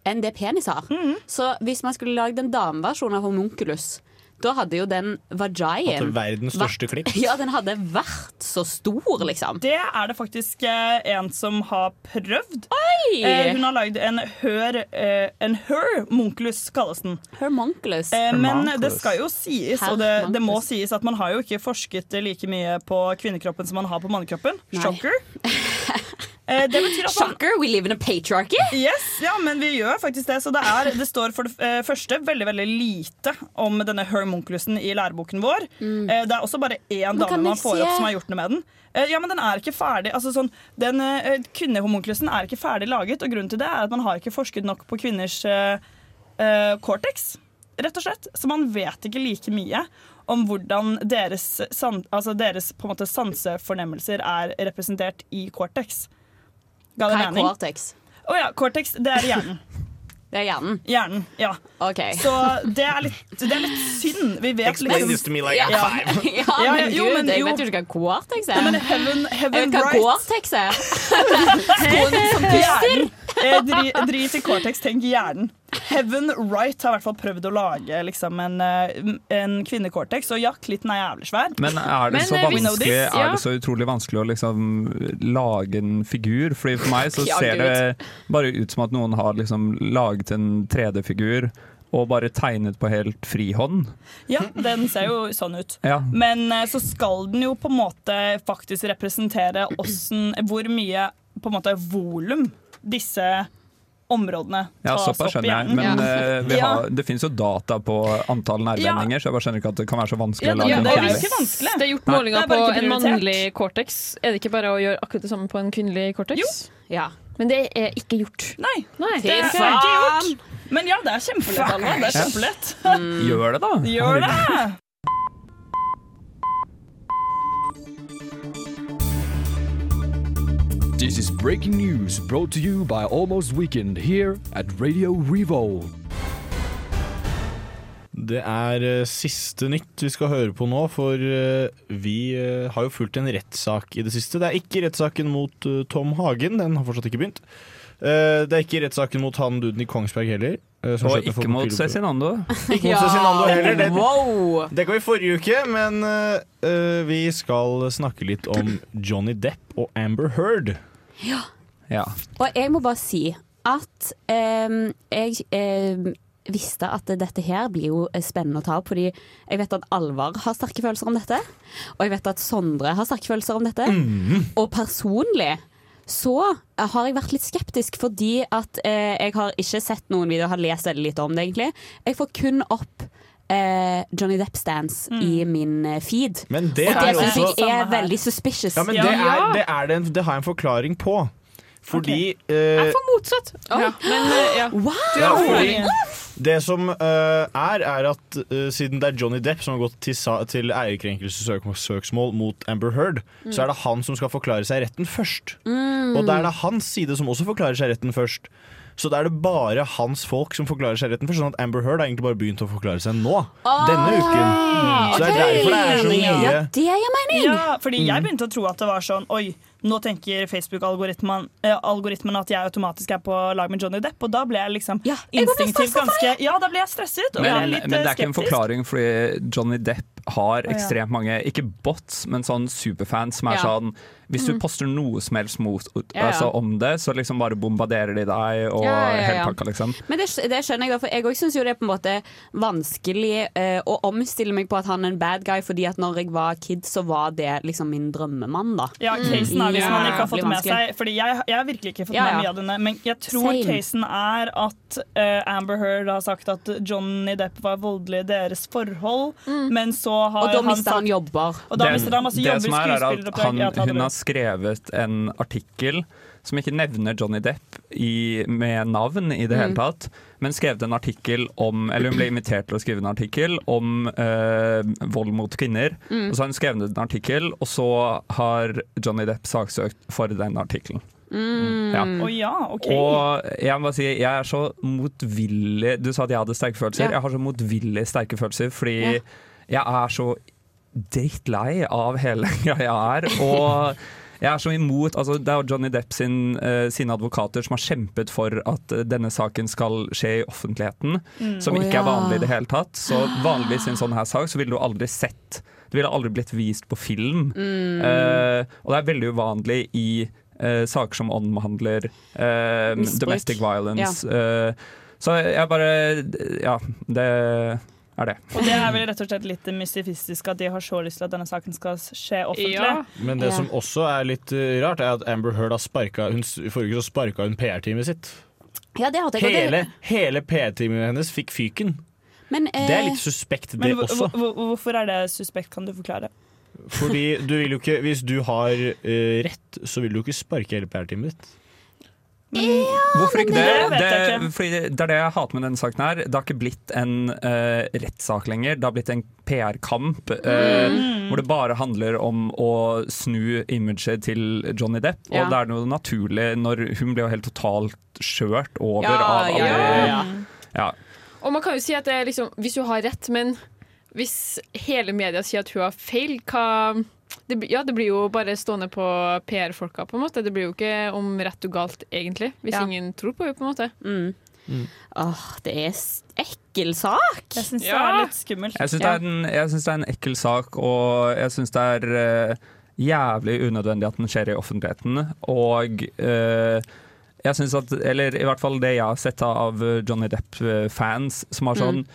H: enn det penis har.
I: Mhm.
H: Så hvis man skulle lagd en dameversjon av homunculus, da hadde jo den vaginaen
I: Hadde verdens største
H: vært-
I: klitt.
H: [laughs] Ja, den hadde vært så stor, liksom.
I: Det er det faktisk eh, en som har prøvd.
H: Oi!
I: Eh, hun har lagd en hør... Eh, en hermonculus, kalles den.
H: Hermonculus.
I: Eh, men
H: Hermonculus.
I: det skal jo sies, og det, det må sies, at man har jo ikke forsket like mye på kvinnekroppen som man har på mannekroppen.
H: [laughs]
I: Shocker. Eh, det betyr at man,
H: Shocker, we live in a patriarchy!
I: Yes, ja, men vi gjør faktisk det. Så det, er, det står for det eh, første veldig veldig lite om denne hermonculus'en i læreboken vår. Eh, Det er også bare én
H: Mm. Men
I: dame
H: kan jeg
I: man får opp
H: se-
I: som har gjort noe med den. Eh, Ja, men den er ikke ferdig altså sånn, den, eh, Kvinnehomonculus'en er ikke ferdig laget, og grunnen til det er at man har ikke forsket nok på kvinners eh, eh, cortex, rett og slett. Så man vet ikke like mye om hvordan deres, san, altså deres på en måte, sansefornemmelser er representert i cortex. Ga det
H: Hva er
I: mening?
H: cortex?
I: Å ja, cortex, det er hjernen.
H: Det er hjernen?
I: Hjernen, ja. Så det er litt, det er litt synd. Vi vet liksom-
O: Explain this to me like I'm
I: Ja.
O: five.
I: Ja,
H: [laughs] Ja, men
I: ja,
H: gud,
I: jo, men
H: jeg
I: jo.
H: vet jo ikke hva Cortex er.
I: Ja, men heaven, heaven
H: jeg vet hva
I: right.
H: Cortex er. Skoene som puster.
I: Hjernen. Eh, dri- Drit i Cortex, tenk hjernen. Heaven Right har i hvert fall prøvd å lage liksom, en, eh, en kvinne-Cortex, og ja, klitten er jævlig svær.
G: Men er det så
I: eh, we know
G: vanskelig
I: this,
G: Er det så utrolig vanskelig å liksom lage en figur? Fordi For meg så
I: [laughs] Ja,
G: ser
I: Gud.
G: det bare ut som at noen har liksom laget en 3D-figur og bare tegnet på helt frihånd.
I: Ja, den ser jo sånn ut.
G: Ja.
I: Men eh, så skal den jo på en måte faktisk representere åssen- hvor mye på en måte volum disse områdene
G: Ja,
I: tas
G: såpass
I: opp i
G: skjønner jeg.
I: hjernen.
G: Men eh, vi
I: Ja.
G: har, det finnes jo data på antall nerveendinger, så jeg bare skjønner ikke at det kan være så vanskelig
D: Ja,
G: å
D: det,
G: lage
D: det,
G: en
D: er
G: figur.
D: ikke vanskelig. Det er gjort
G: Nei.
D: målinger
I: Det er
D: på
I: bare ikke
D: en
I: prioritert.
D: mannlig cortex. Er det ikke bare å gjøre akkurat det samme på en kvinnelig cortex? Jo. Men det er ikke gjort.
I: Nei.
D: det er
I: Fy
D: ikke gjort.
H: [laughs]
I: faen! Men ja, det er kjempelett. Alva. Det er
G: Ja. [laughs]
I: kjempelett.
G: Gjør det, da.
I: Gjør det!
P: This is breaking news brought to you by Almost Weekend here at Radio Revolt.
E: Det er eh, siste nytt vi skal høre på nå, for eh, vi eh, har jo fulgt en rettssak i det siste. Det er ikke rettssaken mot eh, Tom Hagen, den har fortsatt ikke begynt. Eh, det er ikke rettssaken mot han duden i Kongsberg heller. eh,
G: Og
E: som skjøt ned folk
G: ikke
E: på
G: mot
E: Pilebø.
G: Cezinando.
E: Ikke mot Cezinando heller. Det,
H: wow.
E: det ga vi forrige uke, men eh, eh, vi skal snakke litt om Johnny Depp og Amber Heard.
H: Ja.
G: Ja.
H: Og jeg må bare si at ehm, jeg ehm, visste at dette her blir jo eh, spennende å ta opp, fordi jeg vet at Alvar har sterke
E: Mhm.
H: følelser om dette. Og jeg vet at Sondre har sterke følelser om dette. Og personlig så har jeg vært litt skeptisk fordi at eh, jeg har ikke sett noen videoer, har lest veldig lite om det egentlig. Jeg får kun opp eh, Johnny Depp-stands i min eh, feed.
E: Men det
H: og det
E: er
H: synes
E: også-
H: jeg
E: Samme
H: er veldig suspicious.
E: Ja, men det, er, det, er det, en, det har jeg en forklaring på. Fordi eh,
D: Jeg får motsatt. Ja, men eh, ja. Du
E: Ja,
D: har
E: fordi
D: forklaringen.
E: det som eh, er, er at eh, siden det er Johnny Depp som har gått til, sa- til ærekrenkelsessøksmål mot Amber Heard,
M: Mm.
E: så er det han som skal forklare seg i retten først.
M: Mm.
E: Og da er det hans side som også forklarer seg i retten først. Så da er det bare hans folk som forklarer seg i retten først. Sånn at Amber Heard har egentlig bare begynt å forklare seg nå.
H: Ah,
E: Denne uken. Så det er derfor det er så mye
H: Ja, det gir mening.
I: Ja, fordi jeg
E: Mm.
I: begynte å tro at det var sånn Oi, nå tenker Facebook-algoritmen eh, algoritmen at jeg automatisk er på lag med Johnny Depp, og da ble jeg liksom
H: jeg ble
I: instinktivt
H: stresset for
I: ganske Ja, da ble jeg stresset og
G: Men,
I: men, litt
G: men det er ikke en
I: skeptisk.
G: forklaring, fordi Johnny Depp har
I: Å, ja.
G: ekstremt mange, ikke bots, men sånn superfans som er
I: Ja.
G: sånn Hvis du
I: Mm.
G: poster noe som helst mot,
H: Ja, ja.
G: altså, om det, så liksom bare bombarderer de deg og
H: Ja, ja, ja,
G: hele
H: ja.
G: pakka, liksom.
H: Men det, det skjønner jeg, da, for jeg òg syns jo det er på en måte vanskelig eh, å omstille meg på at han er en bad guy, fordi at når jeg var kid, så var det liksom min drømmemann, da.
I: Ja,
D: Mm.
I: casen er hvis man ikke har fått
H: Jævlig
I: med seg
H: vanskelig.
I: Fordi jeg, jeg har virkelig ikke fått
H: Ja, ja.
I: med mye av denne, men jeg tror
H: Same.
I: casen er at eh, Amber Heard har sagt at Johnny Depp var voldelig i deres forhold,
D: Mm.
I: men så har
H: Og da
I: han
H: mister
I: sagt
H: han jobber.
I: Og da
G: Det-
I: mister han masse
G: det
I: jobber,
G: som er, er
I: skuespilleroppdrag.
G: at han,
I: Ja, ta det
G: Hun
I: bra.
G: har skrevet en artikkel som ikke nevner Johnny Depp i, med navn i det
I: Mm.
G: hele tatt, men skrevet en artikkel om Eller hun ble invitert til å skrive en artikkel om eh, vold mot kvinner.
H: Mm.
G: Og så har hun skrevet en artikkel, og så har Johnny Depp saksøkt for den artikkelen.
I: Mm.
G: Ja.
I: Å ja, ok.
G: Og jeg må bare si, jeg er så motvillig Du sa at jeg hadde sterke følelser.
I: Ja.
G: Jeg har så motvillig sterke følelser fordi
I: Ja.
G: jeg er så drittlei av hele [laughs] greia her. Og jeg er så imot altså, Det er jo Johnny Depp sin, eh, sine advokater som har kjempet for at eh, denne saken skal skje i offentligheten,
M: Mm.
G: som
M: Å,
G: ikke
M: ja.
G: er vanlig i det hele tatt. Så vanligvis i en sånn her sak så ville du aldri sett Det ville aldri blitt vist på film.
M: Mm.
G: Eh, og det er veldig uvanlig i eh, saker som omhandler eh,
M: Misbruk.
G: domestic violence. eh, så jeg bare Ja, det er det.
I: Og det er vel rett og slett litt mystifistisk at de har så lyst til at denne saken skal skje offentlig.
E: Men det som også er litt eh, rart, er at Amber Heard har sparka hun, I forrige uke så sparka hun PR-teamet sitt.
H: Ja, det hadde jeg og
E: Hele, hele PR-teamet hennes fikk fyken.
H: det, men, eh,
E: Det er litt suspekt, det
I: Men hvor-
E: også.
I: hvor- hvorfor er det suspekt, kan du forklare?
E: Fordi du vil jo ikke Hvis du har eh, rett, så vil du ikke sparke hele PR-teamet ditt.
D: Eh,
G: Hvorfor ikke det? Det,
I: det vet jeg ikke.
G: fordi det det er det jeg hater med denne saken. her Det har ikke blitt en eh, rettssak lenger. Det har blitt en PR-kamp eh, hvor det bare handler om å snu imaget til Johnny Depp. Og
M: Ja.
G: det er noe naturlig når hun ble jo helt totalt skjørt over
D: Ja,
G: av alle
D: ja, ja, ja.
G: Ja.
D: Og man kan jo si at det er liksom, hvis du har rett, men hvis hele media sier at hun har feil, hva det, blir- ja, det blir jo bare stående på PR-folka, på en måte. Det blir jo ikke om rett og galt, egentlig, hvis
H: Ja.
D: ingen tror på henne, på en måte.
H: Mm.
E: Mm.
H: Åh, det er s- ekkel sak.
I: Jeg syns
D: det er Ja.
I: litt skummelt.
G: Jeg syns det, er en- jeg syns det er en ekkel sak, og jeg syns det er eh, jævlig unødvendig at den skjer i offentligheten. Og eh, jeg syns at Eller i hvert fall det jeg har sett av eh, Johnny Depp-fans, som har sånn
M: Mm.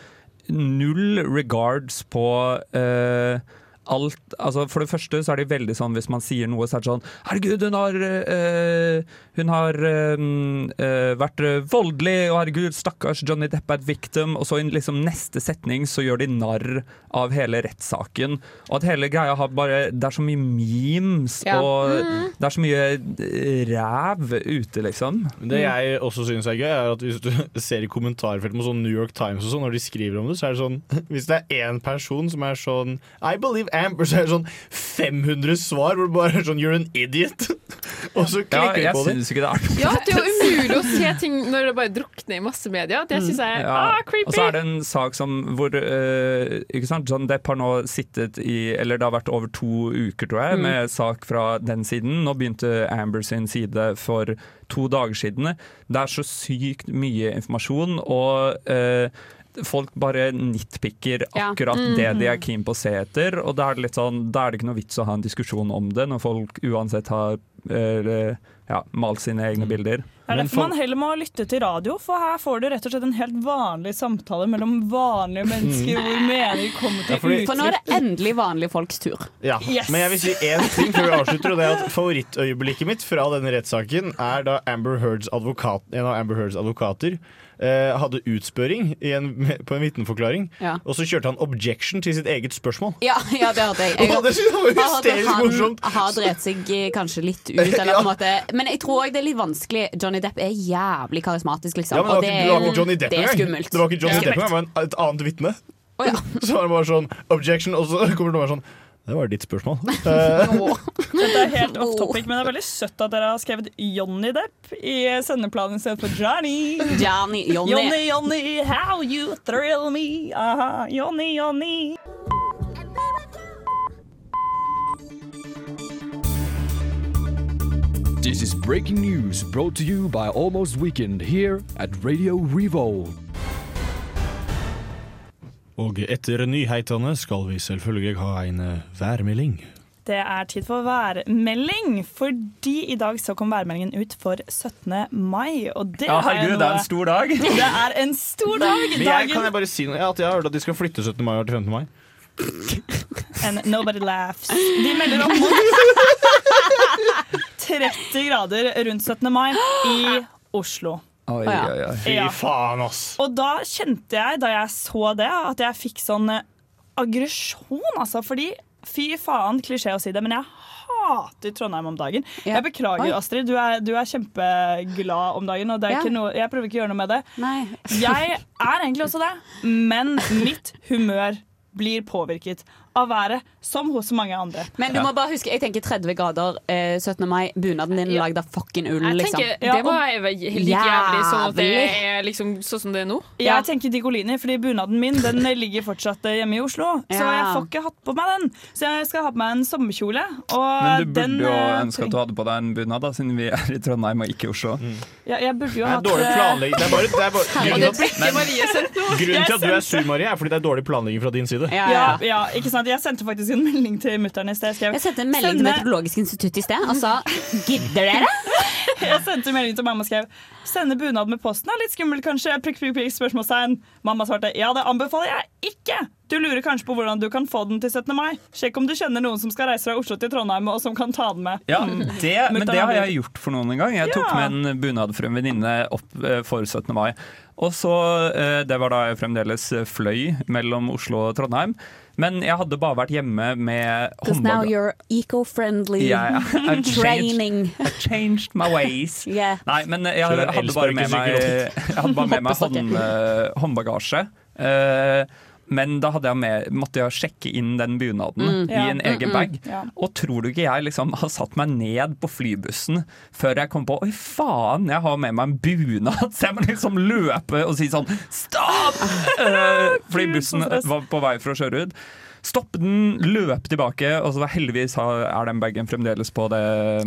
G: null regards på eh, Alt, altså for det første så er de veldig sånn hvis man sier noe, så er det sånn Herregud, hun har, eh, hun har eh, mm, eh, vært eh, voldelig, og herregud, stakkars Johnny Depp er et victim. Og så i liksom neste setning så gjør de narr av hele rettssaken. Og at hele greia har bare Det er så mye memes,
M: Ja.
G: og
M: Mm.
G: det er så mye eh, ræv ute, liksom.
E: Det jeg også synes er gøy, er at hvis du [laughs] ser i kommentarfeltet med sånn New York Times og sånn, når de skriver om det, så er det sånn [laughs] Hvis det er én person som er sånn I believe Amber, så er det sånn 500 svar hvor det bare er sånn You're an idiot. [laughs] Og
G: Ja,
E: så klikker de
G: jeg
E: på det.
G: syns ikke det er
D: Ja, det er jo umulig å se ting når det bare drukner i massemedia. Det syns jeg er ah, creepy.
G: Og så er det en sak som hvor eh, ikke sant? John Depp har nå sittet i Eller det har vært over to uker, tror jeg,
M: Mm.
G: med sak fra den siden. Nå begynte Amber sin side for to dager siden. Det er så sykt mye informasjon, og eh, folk bare nitpicker
M: Ja.
G: akkurat
M: Mm.
G: det de er keen på å se etter. Og da er det litt sånn Da er det ikke noe vits å ha en diskusjon om det, når folk uansett har eh, ja, malt sine egne bilder.
I: Det er derfor man heller må lytte til radio, for her får du rett og slett en helt vanlig samtale mellom vanlige mennesker hvor meninger kommer
E: Mm.
I: til
E: Ja, fordi-
H: For nå er det endelig vanlige folks tur.
E: Ja.
H: Yes.
E: Men jeg vil si én ting før vi avslutter, og det er at favorittøyeblikket mitt fra denne rettssaken er da Amber Heards advokat, en av Amber Heards advokater eh, hadde utspørring i en, på en vitneforklaring,
H: Ja.
E: og så kjørte han objection til sitt eget spørsmål.
H: Ja, ja, det hørte jeg. jeg
E: Å, [laughs] det synes jeg var
H: har hørt at
E: hysterisk morsomt.
H: Han Altså, har drept seg eh, kanskje litt
E: [laughs]
H: ut, eller på en måte. Men jeg tror også det er litt vanskelig. Johnny Depp er jævlig karismatisk, liksom.
E: Ja, men det var
H: og
E: ikke,
H: er
E: det var
H: jo-
E: ikke Johnny Depp
H: Det er
E: engang.
H: skummelt.
E: Det var ikke Johnny
H: Ja.
E: Depp engang, det var en, et annet vitne. Så var det bare sånn objection, og så kommer det bare sånn Det var ditt spørsmål. Eh,
I: Dette er helt off topic, men det er veldig søtt at dere har skrevet Johnny Depp i sendeplanen i stedet for Johnny.
H: Johnny, Johnny.
I: Johnny, Johnny, how you thrill me. Aha, Johnny, Johnny.
P: This is breaking news brought to you by Almost Weekend here at Radio Revolve.
E: [laughs] Og etter nyhetene skal vi selvfølgelig ha en eh, værmelding.
I: Det er tid for værmelding, fordi i dag så kom værmeldingen ut for 17. mai. Og det
E: Ja,
I: har jeg
E: herregud, det er
I: noe-
E: en stor dag.
I: Det er en stor dag.
E: Men jeg, kan jeg bare si noe? Ja, at jeg har hørt at de skal flytte 17. mai år til 15. mai.
I: And nobody laughs. De
H: [laughs]
I: melder om mot 30 grader rundt 17. mai i Oslo.
G: Oi,
I: Ja.
G: oi, oi.
I: Ja.
E: faen, ass.
I: Og da kjente jeg, da jeg så det, at jeg fikk sånn eh, aggresjon, altså. Fordi fy faen, klisjé å si det, men jeg hater Trondheim om dagen. Jeg beklager,
H: Oi.
I: Astrid. Du er, du er kjempeglad om dagen, og det er
H: Ja.
I: ikke noe, jeg prøver ikke å gjøre noe med det.
H: Nei.
I: Jeg er egentlig også det, men mitt humør blir påvirket av været, som hos mange andre.
H: Men du må bare huske, jeg tenker 30 grader eh, 17. mai. Bunaden din er lagd av fucking ull,
D: Jeg
H: liksom.
D: tenker, Det var jeg var like jævlig sånn at det er liksom sånn som det er nå.
I: Jeg tenker Digolini, fordi bunaden min den ligger fortsatt hjemme i Oslo. Så
D: Ja.
I: jeg får ikke hatt på meg den. Så jeg skal ha på meg en sommerkjole. Og
G: Men du burde
I: den,
G: jo
I: eh,
G: ønske at du hadde på deg en bunad, da, siden vi er i Trondheim og ikke i Oslo.
I: Ja, jeg burde
G: Det
I: jo
G: er
I: hatt
G: dårlig
I: eh,
G: planlegging.
E: Det er bare, det er bare,
I: Herregud,
E: grunnen, til
I: blikket
E: at,
I: Marie sendte nå.
E: grunnen til at du
I: Jeg
E: er sur, Marie, er fordi det er dårlig planlegging fra din side.
I: Ja, ja. ikke sant? Jeg sendte faktisk en melding til mutter'n i sted. Jeg, skrev,
H: Jeg sendte en melding til
I: «Sende-
H: Meteorologisk institutt i sted og sa gidder
E: [laughs]
H: dere?
I: [laughs] Jeg sendte en melding til mamma og skrev 'sende bunad med posten'. Er litt skummelt, kanskje? Prikk, prikk, prikk, spørsmålstegn. Mamma svarte 'ja, det anbefaler jeg ikke'. Du lurer kanskje på hvordan du kan få den til 17. mai. Sjekk om du kjenner noen som skal reise fra Oslo til Trondheim, og som kan ta den med.
G: Ja,
I: Mm.
G: det, men
I: Mutter'n
G: det har
I: hadde-
G: jeg gjort for noen en gang. Jeg tok
I: Ja.
G: med en bunad for en venninne opp eh, for 17. mai. Og så, eh, Det var da jeg fremdeles eh, fløy mellom Oslo og Trondheim. Men jeg hadde bare vært hjemme med
H: Because now
G: håndbag.
H: you're eco-friendly
G: Ja, [laughs] ja. I've changed-
H: training.
G: I've changed my
H: [laughs]
G: ways.
H: Yeah.
G: Nei, men jeg
E: Kjører
G: hadde,
E: en
G: bare med meg,
E: elsparkesykkel opp.
G: [laughs] jeg hadde bare med meg hånd, eh, håndbagasje. Eh, men da hadde jeg med, måtte jeg sjekke inn den bunaden
N: Mm.
G: i
N: Ja.
G: en
N: Mm,
G: egen
N: mm.
G: bag.
N: Ja.
G: Og tror du ikke jeg liksom har satt meg ned på flybussen før jeg kom på Oi, faen, jeg har med meg en bunad! [laughs] Så jeg må liksom løpe og si sånn
N: [laughs]
G: Stopp! Eh, fordi bussen var på vei for å kjøre ut. Stopp den, løp tilbake, og så var heldigvis har- er den bagen fremdeles på det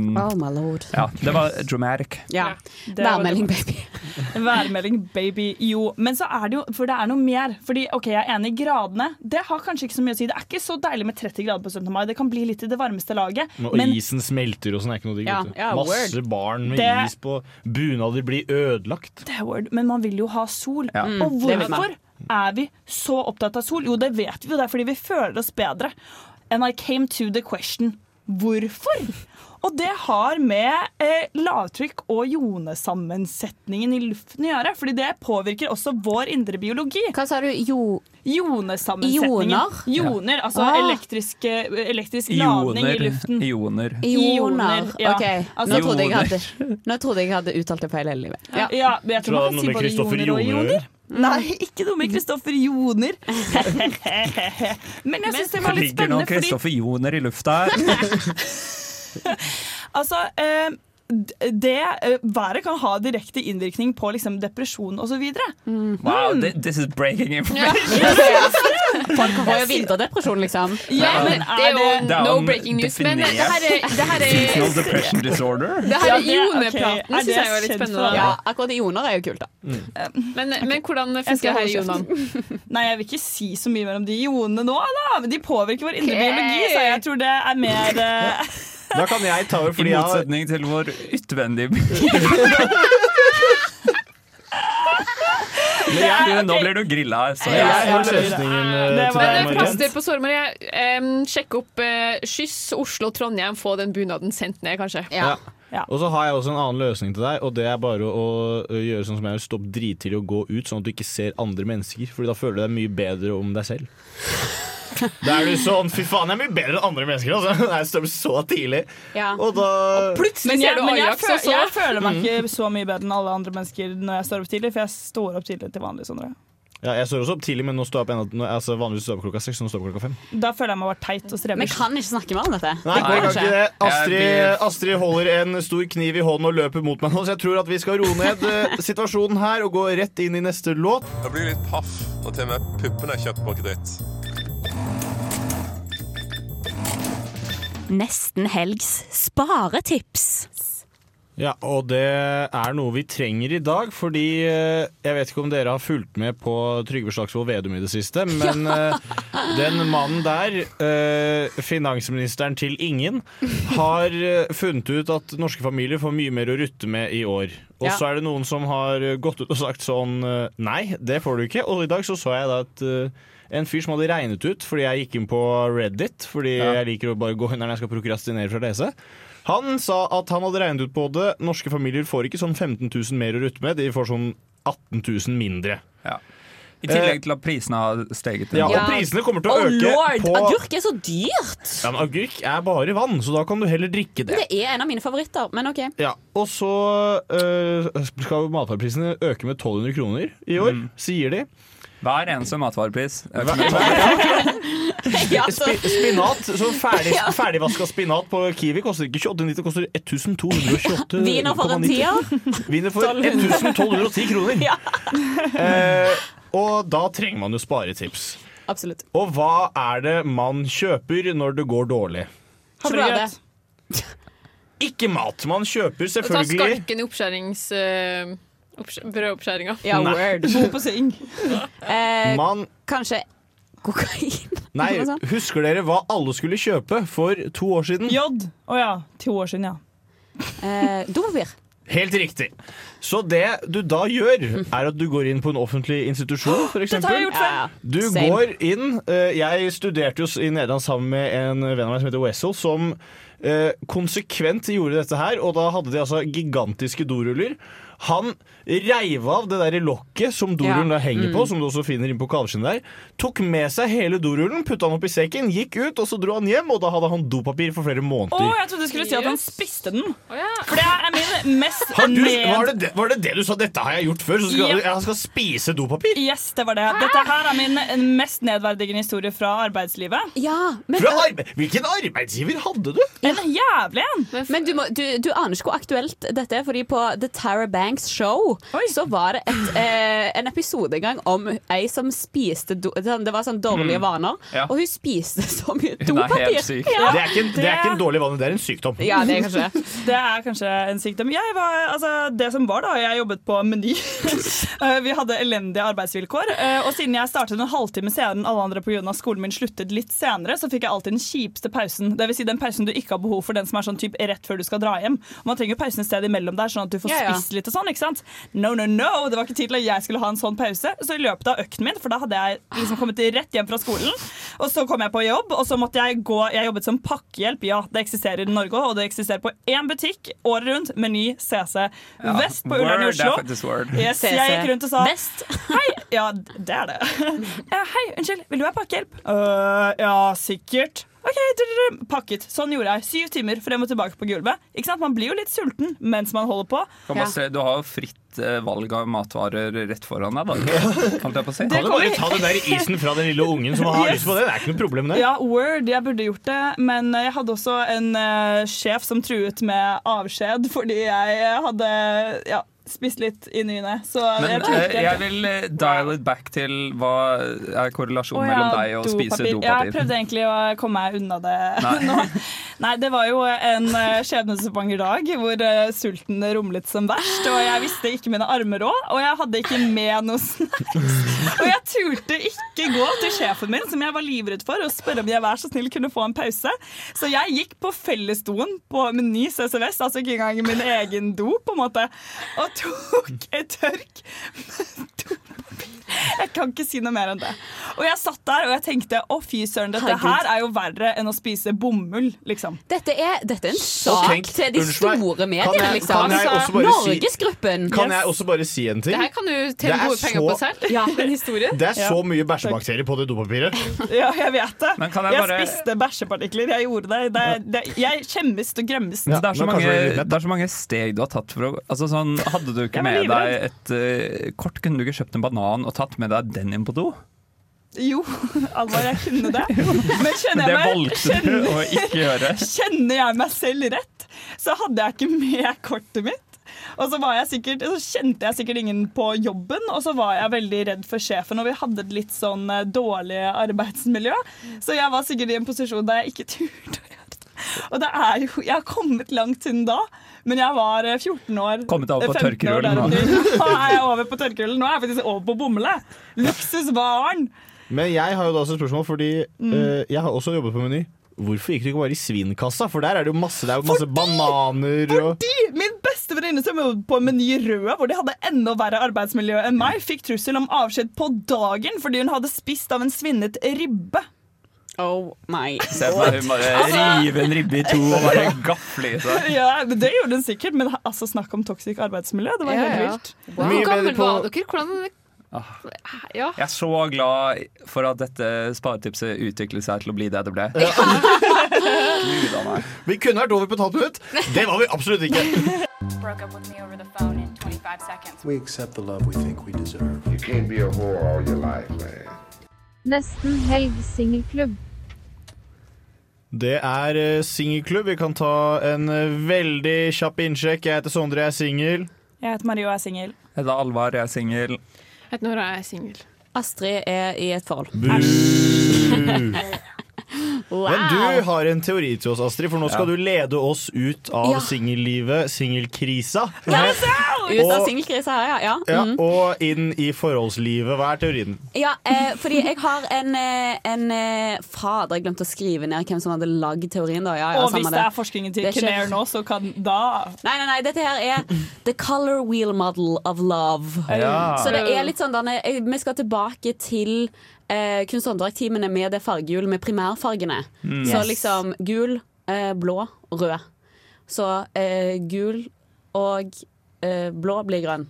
G: mm,
H: Oh my lord.
G: Ja, det var dramatic.
H: Ja.
I: Det var
H: Værmelding,
I: det.
H: baby.
I: [laughs] Værmelding, baby. Jo, men så er det jo For det er noe mer. Fordi, ok, Jeg er enig i gradene. Det har kanskje ikke så mye å si. Det er ikke så deilig med 30 grader på 17. mai. Det kan bli litt i det varmeste laget.
E: Og isen smelter og sånn er ikke noe digg.
I: Ja,
E: vet du.
I: ja,
E: Masse
I: word.
E: barn med
I: Det-
E: is på. Bunader blir ødelagt.
I: Det er word, men man vil jo ha sol.
E: Ja. Mm,
I: Og
E: det vil man.
I: hvorfor er vi så opptatt av sol? Jo, det vet vi jo, det er fordi vi føler oss bedre. And I came to the question hvorfor? Og det har med eh, lavtrykk og jonesammensetningen i luften å gjøre. fordi det påvirker også vår indre biologi.
H: [laughs] Hva sa du? Jo...
I: Jonesammensetningen.
H: Ioner?
I: Joner, altså
H: Ah.
I: elektrisk, eh, elektrisk ladning i
G: Ioner.
I: luften.
G: Ioner.
H: Ioner.
I: Ja.
H: Ok,
I: Altså-
H: nå, trodde jeg
G: Ioner.
H: hadde, nå trodde jeg hadde uttalt det feil hele livet.
I: Ja. jeg tror man kan si både joner og joner.
D: Mm.
I: Nei, ikke noe med Kristoffer
D: [laughs]
I: Joner. Men jeg syns det var litt
G: ligger noen
I: spennende, fordi
G: Kristoffer Joner i lufta her.
I: altså eh, d- det eh, været kan ha direkte innvirkning på liksom, depresjon osv.
G: Wow,
I: Mm.
G: thi- this is breaking [laughs] information.
H: Folk får jo vinterdepresjon, liksom.
D: Ja, men
G: Ja.
D: det er jo
G: Det er
D: no
G: om
D: breaking news. Men det
G: definert.
D: her er, det her er
G: Seasonal depression disorder.
D: Det her
H: Ja,
D: er
H: det-
D: ionepraten,
H: ok, er
D: synes
H: det
D: jeg er litt
H: kjent for
D: spennende.
H: alle? Ja, akkurat ioner er jo kult, da.
D: Men, men hvordan
I: Jeg
D: funker her
I: skal holde kjeft.
D: ionene?
I: [laughs] Nei, jeg vil ikke si så mye mer om de ionene nå, da. Men de påvirker vår indre
D: Ok.
I: biologi, så jeg tror det er mer eh,
E: Da kan jeg
I: [laughs]
E: ta over fordi
G: I
E: jeg har
G: motsetning til vår utvendige Men jeg, Nå blir du grilla, så
E: Ja, [laughs] jeg
I: [laughs]
E: har løsningen, eh, Det til var- deg,
D: Men
E: Margret.
D: plaster på såret, Marie. Em, sjekk opp eh, Skyss Oslo-Trondheim, få den bunaden sendt ned, kanskje.
E: Ja. Og så har jeg også en annen løsning til deg, og det er bare å, å gjøre sånn som jeg gjør, stoppe drittidlig og gå ut, sånn at du ikke ser andre mennesker, Fordi da føler du deg mye bedre om deg selv. Da er du sånn Fy faen, jeg er mye bedre enn andre mennesker, altså! Jeg står opp så tidlig.
H: Ja.
E: Og da
I: Men jeg, men jeg,
H: og
I: føl, jeg føler meg ikke så mye bedre enn alle andre mennesker når jeg står opp tidlig, for jeg står opp tidlig til vanlig. Sondre.
E: Ja, jeg står også opp tidlig, men nå står jeg opp enda, nå- altså, vanligvis står jeg opp klokka seks, nå står jeg opp klokka fem.
I: Da føler jeg meg bare teit og
H: Vi
I: streber.
H: kan ikke snakke mer om dette.
E: Nei, jeg kan ikke det. Astrid,
H: Jeg blir-
E: Astrid holder en stor kniv i hånden og løper mot meg nå, så jeg tror at vi skal roe ned eh, situasjonen her og gå rett inn i neste låt.
N: Jeg blir litt paff når til og med puppene er kjøpt på kreditt.
O: Nesten helgs sparetips.
E: Ja, og det er noe vi trenger i dag, fordi eh, jeg vet ikke om dere har fulgt med på Trygve Slagsvold Vedum i det siste, men eh, den mannen der, eh, finansministeren til ingen, har eh, funnet ut at norske familier får mye mer å rutte med i år. Og
Q: Ja.
E: så er det noen som har eh, gått ut og sagt sånn eh, Nei, det får du ikke. Og i dag så så jeg da at eh, en fyr som hadde regnet ut, fordi jeg gikk inn på Reddit, fordi jeg liker å bare gå inn der når jeg skal prokrastinere fra å lese. Han sa at han hadde regnet ut på det. Norske familier får ikke sånn 15 000 mer å rutte med, de får sånn 18 000 mindre.
G: I tillegg til at prisene har steget.
E: Ja, og prisene kommer til å
H: Å,
E: øke
H: lord,
E: på
H: Agurk er så dyrt!
E: Ja, men Agurk er bare vann, så da kan du heller drikke det.
H: Det er en av mine favoritter, men OK.
E: Ja, Og så øh, skal jo matvareprisene øke med 1200 kroner i år, sier de.
G: Hver eneste matvarepris.
H: [laughs]
E: Spi-
H: altså.
E: Spinat, så ferdig, ferdigvaska spinat på Kiwi koster ikke 28,90, det koster 1228
H: Viner for en tier.
E: Viner for 1210 kroner. Eh, og da trenger man jo sparetips.
H: Absolutt.
E: Og hva er det man kjøper når det går dårlig?
D: Sjokolade.
E: Ikke mat. Man kjøper
D: Ta
E: selvfølgelig
D: skalken i oppskjærings... eh, oppskj- Brødoppskjæringa.
E: Ja, Nei. word. Bo på
I: seng.
H: Eh,
E: Man-
H: Kanskje kokain?
E: Nei,
H: Eller noe sånt.
E: husker dere hva alle skulle kjøpe for to år siden?
I: Jod. Å ja. To år siden, ja.
H: [laughs] Eh, Dopapir.
E: Helt riktig. Så det du da gjør, er at du går inn på en offentlig institusjon, f.eks.
I: Dette har jeg gjort før.
E: Du
I: Same.
E: går inn eh, Jeg studerte jo s- i Nederland sammen med en venn av meg som heter Wessel, som eh, konsekvent gjorde dette her, og da hadde de altså gigantiske doruller. Han reiv av det der lokket som dorullen
Q: Ja.
E: da henger på,
Q: Mm.
E: som du også finner inn på kaveskinnet der. Tok med seg hele dorullen, putta den opp i sekken, gikk ut, og så dro han hjem, og da hadde han dopapir for flere
I: Å,
E: måneder.
I: jeg trodde du skulle si at han spiste den.
D: Mm.
I: For det er min mest
E: Har du,
I: ned-
E: var, det det, var det det du sa? Dette har jeg gjort før, så skal,
I: Ja.
E: jeg skal spise dopapir?
I: Yes, det var det. Dette her er min mest nedverdigende historie fra arbeidslivet.
E: Fra
H: eh,
E: arbe Hvilken arbeidsgiver hadde du?
I: En jævlig en!
H: Men du, må, du, du aner ikke hvor aktuelt dette er, fordi på The Tara Banks Show så var det et, eh, en episode en gang om ei som spiste do, sånn- Det var sånn dårlige
E: Mm.
H: vaner,
E: Ja.
H: og hun spiste så mye
E: Hun
H: dopapir. Ja.
E: Det, er ikke en, det er ikke en dårlig vane, det er en sykdom.
H: Ja, det er kanskje det.
I: Det er kanskje en sykdom. Jeg var, altså, det som var da, jeg jobbet på
Q: [laughs]
I: Meny. Eh, Vi hadde elendige arbeidsvilkår. eh, Og siden jeg startet en halvtime senere enn alle andre pga. skolen min sluttet litt senere, så fikk jeg alltid den kjipeste pausen. Det vil si den pausen du ikke har behov for, den som er sånn typ rett før du skal dra hjem. Og man trenger jo pausen et sted imellom der, sånn at du får
Q: Ja, ja.
I: spist litt og sånn, ikke sant? No, no, no! Det var ikke tid til at jeg skulle ha en sånn pause. Så i løpet av økten min, for da hadde jeg liksom kommet rett hjem fra skolen, og så kom jeg på jobb, og så måtte jeg gå Jeg jobbet som pakkehjelp, ja, det eksisterer i Norge også, og det eksisterer på én butikk året rundt, Meny CC Vest på Ullern i
G: Word er
I: Oslo.
G: faktisk word.
I: Yes, jeg gikk rundt og sa
H: Vest.
I: [laughs] Hei, ja, det er det. Eh, Hei, unnskyld, vil du ha pakkehjelp? «Øh, ja, sikkert. Ok, drrrr, pakket. Sånn gjorde jeg. Syv timer frem og tilbake på gulvet. Ikke sant? Man blir jo litt sulten mens man holder på.
G: Kan bare se, du har jo fritt eh, valg av matvarer rett foran deg, da. Holdt jeg på å si.
I: Det Kan du bare kommer-
E: Ta den der isen fra den lille ungen som har lyst på det. Det er ikke noe problem, det.
I: Ja, word, jeg burde gjort det, men jeg hadde også en eh, sjef som truet med avskjed fordi jeg eh, hadde ja, spist litt i ny og ne. Så
G: Men
I: jeg tror
G: eh,
I: ikke
G: jeg vil eh, dial it back til hva er korrelasjonen
I: Å ja,
G: mellom deg og å spise
I: Jeg
G: dopapir.
I: prøvde egentlig å komme meg unna det
G: [laughs] Nei.
I: nå. Nei, det var jo en eh, skjebnesvanger dag hvor eh, sulten rumlet som verst, og jeg visste ikke mine armer òg, og jeg hadde ikke med noe snacks. Og jeg turte ikke gå til sjefen min, som jeg var livredd for, og spørre om jeg vær så snill kunne få en pause. Så jeg gikk på fellesdoen på Meny CCVS, altså ikke engang min egen do, på en måte, og tok et tørk jeg kan ikke si noe mer enn det. Og jeg satt der og jeg tenkte å fy søren, dette
H: Herregud.
I: her er jo verre enn å spise bomull, liksom.
H: Dette er, dette er en sak
E: Og tenk-
H: til de
E: unnskyld meg,
H: store
E: kan jeg-
H: mediene, liksom.
E: kan jeg også bare si-
H: Norgesgruppen.
E: Kan jeg også bare si en ting?
D: Det her kan du
E: Det
D: tjene
E: er
D: gode penger
E: så-
D: på
E: [laughs]
D: selv.
H: Ja, en historie.
E: Det er så mye bæsjebakterier på det dopapiret.
I: Ja, jeg vet det.
G: Men
I: Jeg,
G: kan jeg bare-
I: spiste bæsjepartikler. Jeg gjorde det. det, det jeg skjemmes og gremmes.
G: Så det, er så mange, det er så mange steg du har tatt for å altså sånn, Hadde du ikke
I: Jeg var
G: med deg
I: livredd.
G: et eh, kort, kunne du ikke kjøpt en banan og tatt med deg den inn på do?
I: Jo, [laughs] Alvar, jeg kunne det.
G: [laughs]
I: Men
G: Men
I: kjenner
G: det
I: jeg meg
G: valgte du å ikke gjøre.
I: Kjenner jeg meg selv rett, så hadde jeg ikke med kortet mitt. Og så, var jeg sikkert, så kjente jeg sikkert ingen på jobben, og så var jeg veldig redd for sjefen. Og vi hadde et litt sånn eh, dårlig arbeidsmiljø, så jeg var sikkert i en posisjon der jeg ikke [laughs] turte å gjøre det. Og det er jo, jeg har kommet langt siden da, men jeg var eh, 14 år.
G: Kommet over på
I: eh, 15 år
G: tørkerullen nå.
I: deretter. Nå er jeg over på tørkerullen. Nå er jeg faktisk over på bomullet. Luksusvaren.
E: Men jeg har jo da også et spørsmål, fordi
I: Mm.
E: eh, jeg har også jobbet på Meny. Hvorfor gikk du ikke bare i svinkassa? For der er det jo masse, det er jo masse bananer og
I: De, min beste venninne som jobbet på Meny Røde, hvor de hadde enda verre arbeidsmiljø enn meg, fikk trussel om avskjed på dagen fordi hun hadde spist av en svinnet ribbe.
H: Oh my
G: Se for meg hun bare
I: altså-
G: rive en ribbe i to og bare gafle i seg.
I: Ja, men Det gjorde hun sikkert, men altså, snakk om toxic arbeidsmiljø. Det var helt vilt.
D: Hvor gammel var dere? Hvordan Ja.
G: Jeg er så glad for at dette sparetipset utviklet seg til å bli det det
H: [laughs]
G: ble. Gud a meg.
E: Vi kunne vært over på et halvt minutt. Det var vi absolutt ikke.
Q: Broke up with me over the phone in 25 seconds.
R: We accept the love we think we deserve.
S: You can't be a whore all your life, man.
T: Nesten helg singelklubb.
E: Det er eh, singelklubb. Vi kan ta en eh, veldig kjapp innsjekk. Jeg heter Sondre, jeg er singel.
I: Jeg heter Marie og er singel.
G: Jeg heter Alvar, jeg er singel.
D: Jeg heter Nora, jeg er singel.
H: Astrid er i et forhold. Wow.
E: Men du har en teori til oss, Astrid, for nå skal
H: Ja.
E: du lede oss ut av
H: Ja.
E: singellivet, singelkrisa.
H: Ut av
E: Og-
H: singelkrisa her, ja. ja.
E: Ja,
H: mhm.
E: og inn i forholdslivet. Hva er teorien?
H: Ja, eh, fordi jeg har en, eh, en eh, Fader, jeg glemte å skrive ned hvem som hadde lagd teorien. da ja, ja,
I: og hvis
H: samme
I: det er forskningen til
H: Det er ikke-
I: Kinnair nå, så kan da
H: Nei, nei, nei, dette her er The Color Wheel Model of Love.
D: Eh,
I: Ja.
H: Så det er litt sånn Danne, eh, Vi skal tilbake til eh, kunst- og håndverktimene med det fargehjulet med primærfargene.
O: Mm.
H: Så
O: Yes.
H: liksom gul, eh, blå og rød. Så eh, gul og eh, blå blir grønn.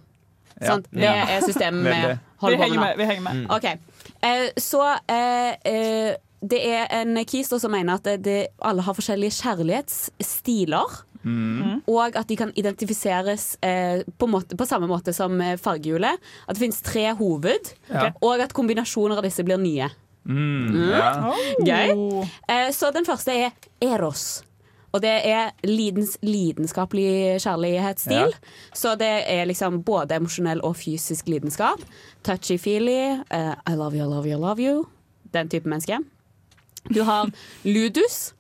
O: Ja.
H: Sant? Det
O: Ja.
H: er systemet
O: Veldig.
H: med
I: Vi henger med, vi henger
O: med. Mm.
H: OK. Eh, så eh, eh, det er en kis da som mener at det, det, alle har forskjellige kjærlighetsstiler.
O: Mm.
H: Og at de kan identifiseres eh, på, måte, på samme måte som eh, fargehjulet. At det finnes tre hoved,
O: Ja.
H: og at kombinasjoner av disse blir nye.
O: Mm,
H: Mm.
I: Oh.
O: ja.
H: Gøy. Eh, så den første er Eros. Og det er lidens, lidenskapelig kjærlighetsstil.
O: Ja.
H: Så det er liksom både emosjonell og fysisk lidenskap. Touchy-feely, eh, I love you, I love you, I love you. Den type menneske. Du har ludus,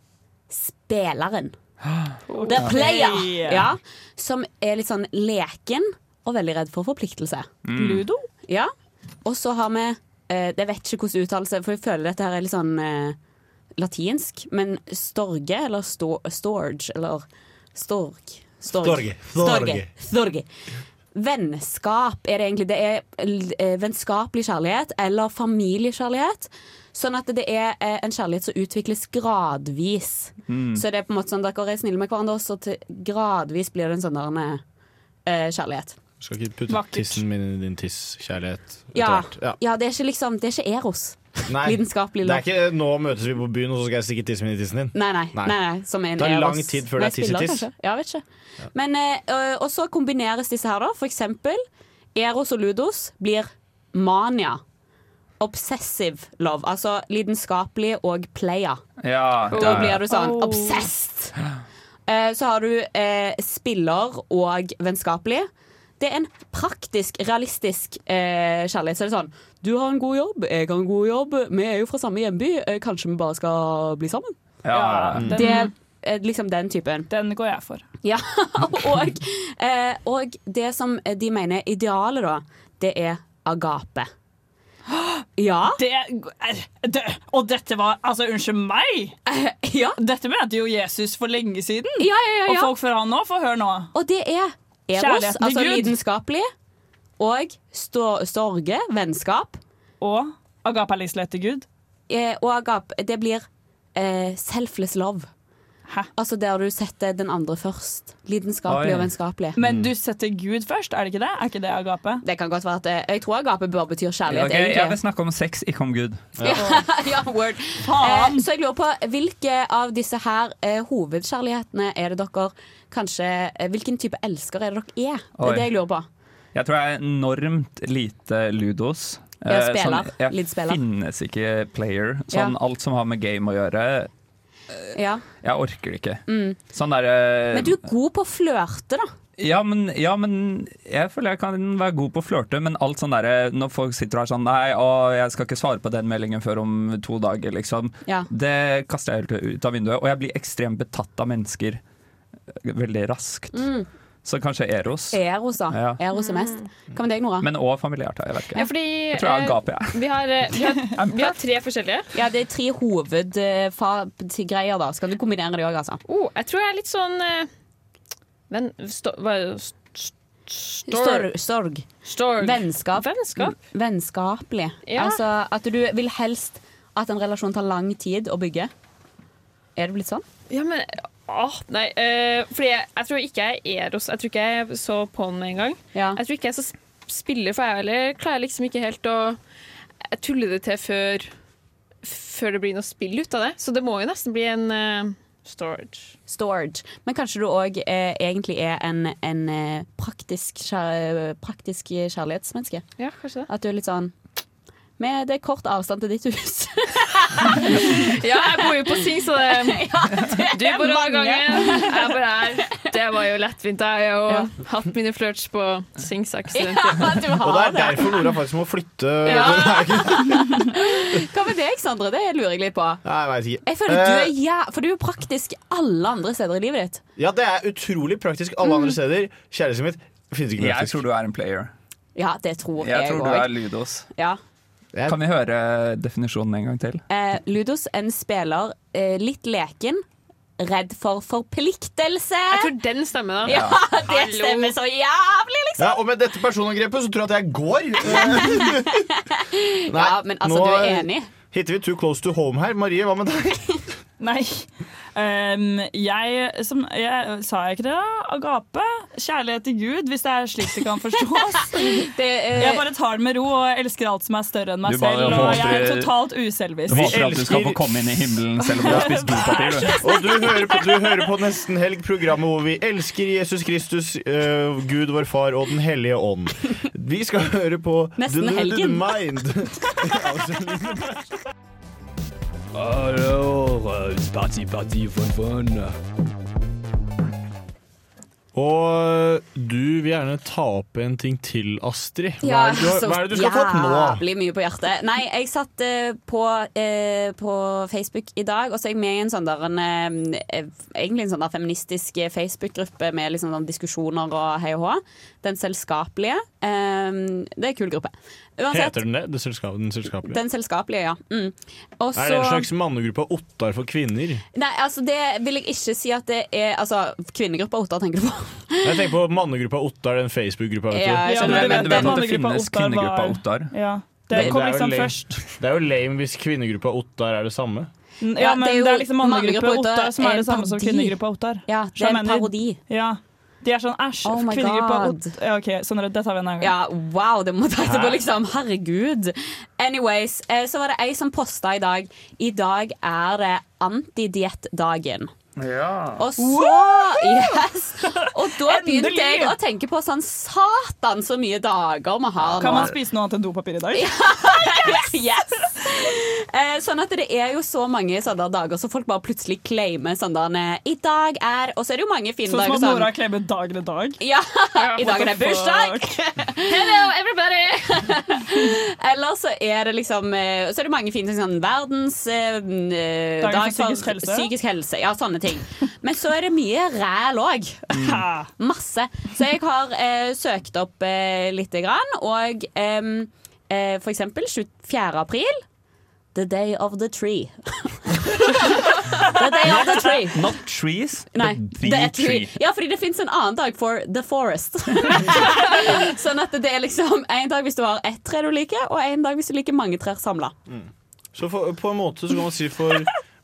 H: spilleren. The
O: Ja.
H: player.
O: Hey.
H: Ja, som er litt sånn leken og veldig redd for forpliktelse.
O: Mm. Ludo?
H: Ja. Og så har vi eh, Jeg vet ikke hvordan uttalelse, for jeg føler dette her er litt sånn eh, latinsk. Men storge eller sto, storge eller storg.
E: Storge.
H: Storge. Storge. Vennskap er det egentlig. Det er eh, vennskapelig kjærlighet eller familiekjærlighet. Sånn at det er eh, en kjærlighet som utvikles gradvis.
O: Mm.
H: Så det er på en måte sånn dere er snille med hverandre, og så til, gradvis blir det en sånn der, eh, kjærlighet.
E: Skal ikke putte tissen min i din tiss, kjærlighet. etter
H: Ja.
E: hvert.
H: Ja. det er ikke liksom Det er ikke Eros.
E: Nei,
H: Lidenskapelig
E: det
H: lov.
E: er ikke 'nå møtes vi på byen, og så skal jeg stikke tissen min i tissen din'.
H: Nei, nei. nei. nei som en
E: det tar
H: Eros.
E: lang tid før det
H: Nei,
E: er tiss i
H: spiller,
E: tiss.
H: kanskje. Ja, vet ikke. Men, eh, ø, og så kombineres disse her, da. For eksempel Eros og Ludos blir mania. Obsessive love. Altså lidenskapelig og playa.
G: Ja, ja,
H: Da
G: ja.
H: blir du sånn obsessed. Eh, Så har du eh, spiller og vennskapelig. Det er en praktisk, realistisk eh, kjærlighet. Så det er sånn Du har en god jobb, jeg har en god jobb, vi er jo fra samme hjemby, eh, kanskje vi bare skal bli sammen?
G: Ja, ja, ja.
H: Det eh, liksom den typen.
I: Mm. Den går jeg for.
H: Ja, og, eh, og det som de mener er idealet, da, det er agape. Ja.
I: Det, er- det, og dette var Altså, unnskyld meg!
D: Eh,
I: Dette mente jo Jesus for lenge siden.
H: Ja, ja, ja, ja.
I: Og folk før han nå, få høre nå.
H: Og det er eros,
I: Kjærligheten til
H: altså
I: Gud.
H: lidenskapelig, og stå, sorge, vennskap.
I: Og agape er livslighet til Gud.
H: Eh, og agape, det blir eh, selfless love. Altså der du setter den andre først. Lidenskapelig
I: Oi.
H: og vennskapelig.
G: Mm.
I: Men du setter Gud først, er det ikke det? Er ikke det agape?
D: Eh,
H: Det kan godt være at det, Jeg tror agape bør betyr kjærlighet,
G: Ok, jeg vil
H: egentlig.
G: snakke om sex, ikke om Gud.
H: [laughs] ja, word. Eh, så jeg lurer på hvilke av disse her eh, hovedkjærlighetene er det dere kanskje eh, Hvilken type elsker er det dere er? Det
G: Oi.
H: er det jeg lurer på.
G: Jeg tror jeg er enormt lite ludos.
H: Ja,
G: Eh,
H: spiller.
G: Sånn, jeg
H: Litt spiller.
G: finnes ikke player. Sånn
H: Ja.
G: alt som har med game å gjøre,
H: Ja.
G: jeg orker det ikke.
H: Mm.
G: Sånn derre
H: Men du er god på å flørte, da.
G: Ja men, ja, men jeg føler jeg kan være god på å flørte, men alt sånn derre når folk sitter her sånn Nei, å, jeg skal ikke svare på den meldingen før om to dager, liksom.
H: Ja.
G: Det kaster jeg helt ut av vinduet. Og jeg blir ekstremt betatt av mennesker eh, veldig raskt.
H: Mm.
G: Så kanskje Eros.
H: Eros, da.
G: Ja.
H: Eros er mest. Hva med deg, Nora?
G: Men òg familiært, jeg vet ikke.
D: Ja, fordi
G: Jeg tror jeg
D: eh,
G: gaper, jeg.
D: Vi har, eh, vi
G: [laughs]
D: har, vi har tre forskjellige.
H: Ja, det er tre hovedgreier, da. Så kan du kombinere de òg, altså.
D: Oh, jeg tror jeg er litt sånn eh, Venn... Sto, hva, er det? St-
H: Sorg.
D: storg.
H: Sorg.
D: Storg.
H: Vennskap.
D: Vennskap.
H: Mm, Vennskapelig.
D: Ja.
H: Altså at du vil helst at en relasjon tar lang tid å bygge. Er det blitt sånn?
D: Ja, men åh, Nei, eh, fordi jeg, jeg tror ikke jeg er Eros. Jeg tror ikke jeg så på den med en gang. Jeg tror ikke jeg er så sp- spiller, for jeg heller klarer liksom ikke helt å Jeg tuller det til før, før det blir noe spill ut av det. Så det må jo nesten bli en eh, storage.
H: Storage. Men kanskje du òg eh, egentlig er en, en eh, praktisk, kjær, eh, praktisk kjærlighetsmenneske?
D: Ja, kanskje det.
H: At du er litt sånn med, Det er kort avstand til ditt hus. [laughs]
D: Ja, jeg bor jo på Sing, så
I: [laughs]
D: det, du
H: er
D: bor
H: mange.
D: av gangen. Jeg bor her. Det var jo lettvint. Jeg har jo hatt mine flørts på Sing-sak.
E: Og det er derfor Nora faktisk må flytte. [laughs]
H: Hva med deg, Sandre? Det lurer jeg litt på.
E: Nei, jeg vet ikke.
H: Jeg føler du er
E: Eh,
H: ja, For du er jo praktisk alle andre steder i livet ditt.
E: Ja, det er utrolig praktisk alle
H: Mm.
E: andre steder. Kjærligheten mitt finnes ikke
G: Jeg
E: praktisk.
G: tror du er en player.
H: Ja, det tror
G: Jeg
H: jeg
G: tror du er
H: òg.
G: ludos.
H: Ja.
G: Kan vi høre definisjonen en gang til?
H: Eh, Ludos, en spiller eh, litt leken, redd for forpliktelse. Jeg
D: tror den stemmer,
E: da.
H: Ja, [laughs] det
E: Hallo.
H: stemmer så jævlig, liksom.
E: Ja, og med dette personangrepet så tror jeg at jeg
H: [laughs]
E: går. Eh, Nei,
H: ja, men altså,
E: nå
H: du er enig?
E: Hitter vi too close to home her. Marie, hva med deg?
I: [laughs] Nei. Um, jeg, som, jeg Sa jeg ikke det? da? Agape? Kjærlighet til Gud, hvis det er slik det kan forstås.
D: [laughs]
H: eh,
I: jeg bare tar det med ro og elsker alt som er større enn meg
G: Du bare
I: selv. Og
G: håper-
I: jeg er totalt uselvisk.
G: Håper at du skal få komme inn i himmelen selv om du har
H: [laughs]
G: spist dopapir. du.
E: Og du hører, på, du hører på Nesten Helg-programmet hvor vi elsker Jesus Kristus, eh, Gud vår Far og Den hellige ånd. Vi skal høre på
U: Nesten
E: The Limited
U: Helgen.
H: [laughs]
E: Mind.
P: Alors, euh, c'est parti, parti, fun, fun.
V: Og du vil gjerne ta opp en ting til, Astrid. Hva
H: Ja,
V: er det du, har-
H: altså, så
V: hva er det du skal ta opp nå?
H: Jævlig mye på hjertet. Nei, jeg satt eh, på, eh, på Facebook i dag, og så er jeg med i en sånn der en, eh, Egentlig en sånn der feministisk eh, Facebook-gruppe med liksom sånn diskusjoner og hei og hå. Den selskapelige. Eh, det er en kul gruppe.
V: Heter den det? det selskap, den selskapelige?
H: Den selskapelige, ja. Mm. Og
V: er det en
H: så-
V: slags mannegruppe av Ottar for kvinner?
H: Nei, altså det vil jeg ikke si at det er Altså, kvinnegruppa Ottar tenker du på?
V: Jeg tenker på mannegruppa Ottar, den Facebook-gruppa. vet du.
H: Ja, jeg
V: Men-
H: skjønner.
V: men du vet
H: Den
V: at det
H: mannegruppa
V: finnes
H: Ottar var-
V: kvinnegruppa Ottar?
I: Ja,
V: Men
I: det kom
V: er jo
I: liksom
V: lame-
I: først.
V: Det er jo lame hvis kvinnegruppa Ottar er det samme.
I: Ja,
H: Ja,
I: men
H: det er jo
I: det er liksom mannegruppa
H: mannegruppa
I: Ottar som er
H: Ottar,
I: det samme
H: en
I: som
H: parodi.
I: kvinnegruppa Ottar.
H: Ja, det er en parodi.
I: Ja. De er sånn æsj,
H: Oh my
I: kvinnegruppa
H: God.
I: Ottar ja, OK, Sondre, det tar vi en annen gang.
H: Ja, wow, det må ta etterpå,
I: Hæ?
H: liksom. Herregud. Anyways, eh, så var det ei som posta i dag. I dag er det antidiettdagen. Og så Yes! Og da begynte
I: Endelig!
H: jeg å tenke på sånn satan så mye dager vi har nå.
I: Sånn Kan man spise noe annet enn dopapir i dag?
H: [laughs] yes! Eh, sånn at det er jo så mange sånne dager som folk bare plutselig claimer sånn der, eh, I dag er Og så er det jo mange fine
I: Sånn som
H: dager
I: at Nora klemmer dagen i dag.
H: Ja, [laughs] i dag er det
I: what the
H: bursdag!
D: Hello, everybody!
H: [laughs] Eller så er det liksom eh, Så er det mange fine ting sånn verdens eh, eh,
I: Dagen for
H: dag
I: psykisk helse.
H: psykisk helse. Ja, sånne ting. Men så er det mye ræl òg. [laughs] Masse. Så jeg har eh, søkt opp eh, lite grann, og em, eh, for eksempel 24. april The day of the tree. [laughs] the day of the tree.
G: Not trees,
H: Nei,
G: but
H: det
G: the
H: er tree.
G: tree.
H: Ja, fordi det fins en annen dag for the forest. sånn at det er liksom en dag hvis du har ett tre du liker, og en dag hvis du liker mange trær samla.
E: Så for, på en måte så kan man si for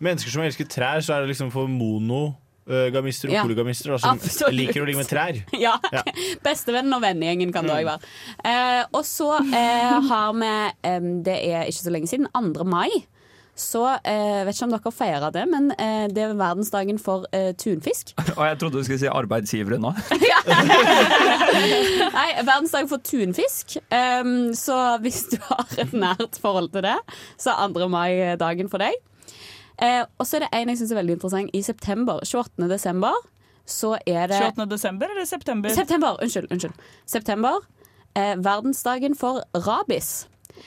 E: mennesker som elsker trær, så er det liksom for monogamister og
H: Ja.
E: polygamister da, som
H: Absolutt.
E: liker å ligge med trær.
H: [laughs] Ja.
E: Ja.
H: Bestevennen og vennegjengen kan det òg være. Eh, og så eh, har vi eh, Det er ikke så lenge siden, 2. mai. Så eh, vet ikke om dere feirer det, men eh, det er verdensdagen for eh, tunfisk.
G: Og jeg trodde du skulle si arbeidsgivere nå.
H: [laughs] Nei, verdensdag for tunfisk. Ehm, så hvis du har et nært forhold til det, så er 2. mai dagen for deg. Eh, og så er det en jeg syns er veldig interessant. I september, 28. desember, så er det
I: 28. desember eller september?
H: September, unnskyld. unnskyld. September. Eh, verdensdagen for rabies.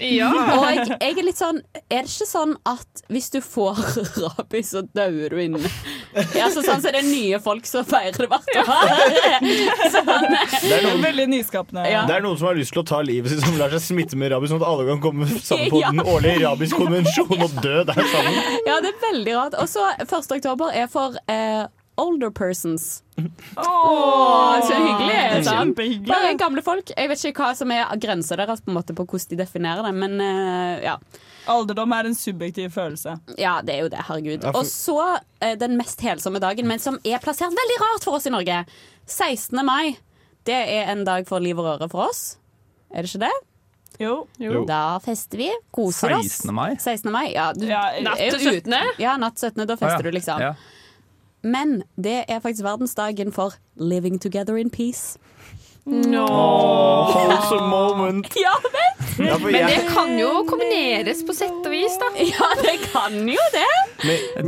D: Ja.
H: Og jeg er litt sånn Er det ikke sånn at hvis du får rabies, så dauer du inne? Ja, så sånn så er det nye folk som feirer det hvert år. Sånn,
E: Det er noen-
I: Veldig nyskapende.
E: Det er noen som har lyst til å ta livet sitt, som lar seg smitte med rabies, sånn at alle kan komme sammen på
H: [laughs] Ja.
E: den årlige rabieskonvensjonen og dø der sammen.
H: Ja, det er veldig rart. Og så 1. oktober er for eh, older persons.
I: Åh,
H: så hyggelig. Sant?
I: Kjempehyggelig.
H: Bare gamle folk. Jeg vet ikke hva som er grensa deres på, en måte, på hvordan de definerer det, men eh, ja.
I: Alderdom er en subjektiv følelse.
H: ja. Det er jo det, herregud.
I: Ja, for-
H: Og så eh, den mest helsomme dagen, men som er plassert veldig rart for oss i Norge. 16. mai. Det er en dag for liv og røre for oss. Er det ikke det?
I: Jo.
G: Jo.
H: Da fester vi, koser oss.
G: 16. mai?
H: 16. mai, ja. Du,
I: Ja, natt
H: er jo
I: til
H: ut-
I: 17..
H: Ja, natt 17. Da
G: Å, ja.
H: fester du, liksom.
G: Ja.
H: Men det er faktisk verdensdagen for Living Together in
G: [laughs]
H: Peace.
E: Åh, wholesome moment.
H: Ja, vet
E: Ja, for
D: Men det
E: jeg-
D: kan jo kombineres på sett og vis, da.
H: Ja, det kan jo det.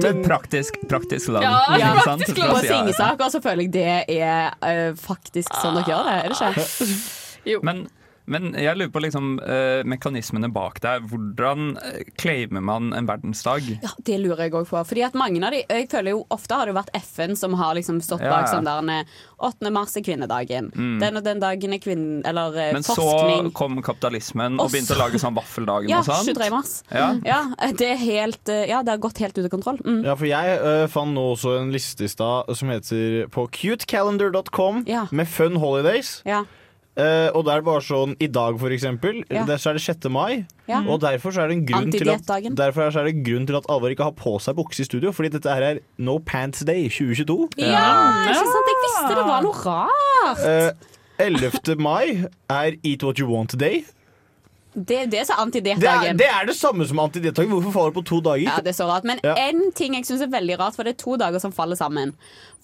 G: Et praktisk, praktisk land.
H: Ja,
G: ikke sant?
H: praktisk
G: Fra
H: lov. På
G: siden.
H: singesaker så føler jeg det er eh, faktisk sånn dere gjør det, er det
G: Ah.
H: ikke?
G: Men, men jeg lurer på liksom, eh, mekanismene bak der. Hvordan eh, claimer man en verdensdag?
H: Ja, Det lurer jeg òg på. Fordi at mange av de, jeg føler jo Ofte har det jo vært FN som har liksom stått
G: Ja,
H: bak
G: ja.
H: sånn der en, eh, 8. mars er kvinnedagen.
G: Mm.
H: Den og den dagen er kvinne... Eller eh,
G: Men
H: forskning.
G: så kom kapitalismen og
H: Og
G: begynte å lage sånn vaffeldagen
H: ja,
G: og sånt.
H: 23. mars.
G: Ja.
H: Ja, det er helt, eh, ja, det har gått helt ut av kontroll. Mm.
E: Ja, for jeg ø, fant nå også en liste i stad som heter på cutecalendar.com med fun holidays. Eh, og det er bare sånn i dag, for eksempel.
H: Ja.
E: Der så er det 6. mai.
H: Ja.
E: Og derfor så er det en grunn til at
H: Antidietdagen.
E: Derfor er- så er det en grunn til at Alvar ikke har på seg bukse i studio, fordi dette her er No Pants Day 2022.
H: Ja, ikke sant? Jeg visste det var noe rart.
E: Eh, 11. mai er Eat What You Want Day.
H: Det er jo det som er
E: Det er,
H: antidietdagen.
E: det er det samme som antidietdagen. Hvorfor faller det på to dager?
H: Ja, det er så rart. Men
E: Ja.
H: én ting jeg syns er veldig rart, for det er to dager som faller sammen.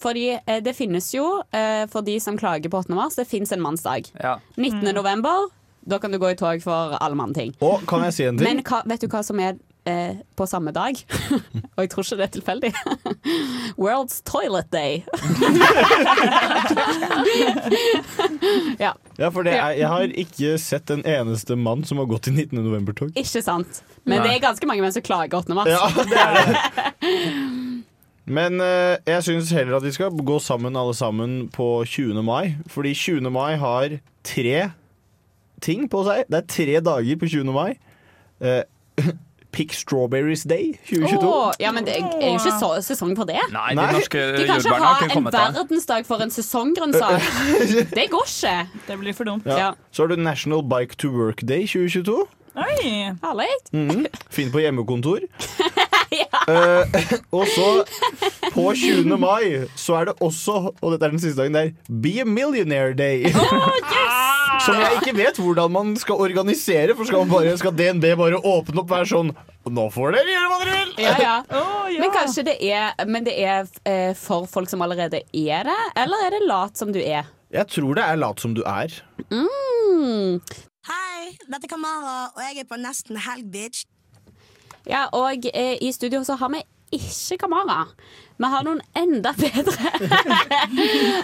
H: Fordi eh, det finnes jo, eh, for de som klager på 8. mars, det fins en mannsdag.
G: Ja.
H: 19. november, da kan du gå i tog for alle mannting.
E: Og kan jeg si en ting?
H: Men hva, vet du hva som er eh, på samme
E: [laughs]
H: dag? Og jeg tror ikke det er tilfeldig. [laughs] World's Toilet
E: [laughs]
H: Day. [laughs] ja.
E: Ja, for det er, Jeg har ikke sett en eneste mann som har gått i 19. november-tog.
H: Ikke sant. Men
E: Nei.
H: det er ganske mange menn som klager 8. mars.
E: Ja, det er det. [laughs] Men eh, jeg syns heller at vi skal gå sammen alle sammen på 20. mai. Fordi 20. mai har tre ting på seg. Det er tre dager på 20. mai. Eh, [laughs] Pick Strawberries Day 2022.
H: Åh, ja, men det er jo ikke så, sesong for det.
G: Nei,
E: Nei.
G: de norske
H: Du kan ikke
G: jordbærene
H: ha
G: har ikke
H: en
G: kommet av.
H: verdensdag for en sesonggrønnsak. Det går ikke.
I: Det blir for dumt.
E: Ja.
H: Ja.
E: Så har du National Bike to Work Day 2022.
I: Oi.
H: Herlig.
E: Mhm. Finn på hjemmekontor. Eh, og så, på 20. mai, så er det også, og dette er den siste dagen, det er Be a Millionaire Day. Som jeg ikke vet hvordan man skal organisere, for skal, man bare, skal DNB bare åpne opp og være sånn Nå får dere gjøre hva dere vil!
H: Ja, ja.
I: ja.
H: Men kanskje det er, men det er eh, for folk som allerede er det, eller er det lat som du er?
E: Jeg tror det er lat som du er.
H: Mm. Hmm.
I: [laughs]
F: Hei, dette er Kamara, og jeg er på Nesten Helg, bitch.
H: Ja, og eh, i studio så har vi ikke Kamara. Vi har noen enda bedre. [laughs]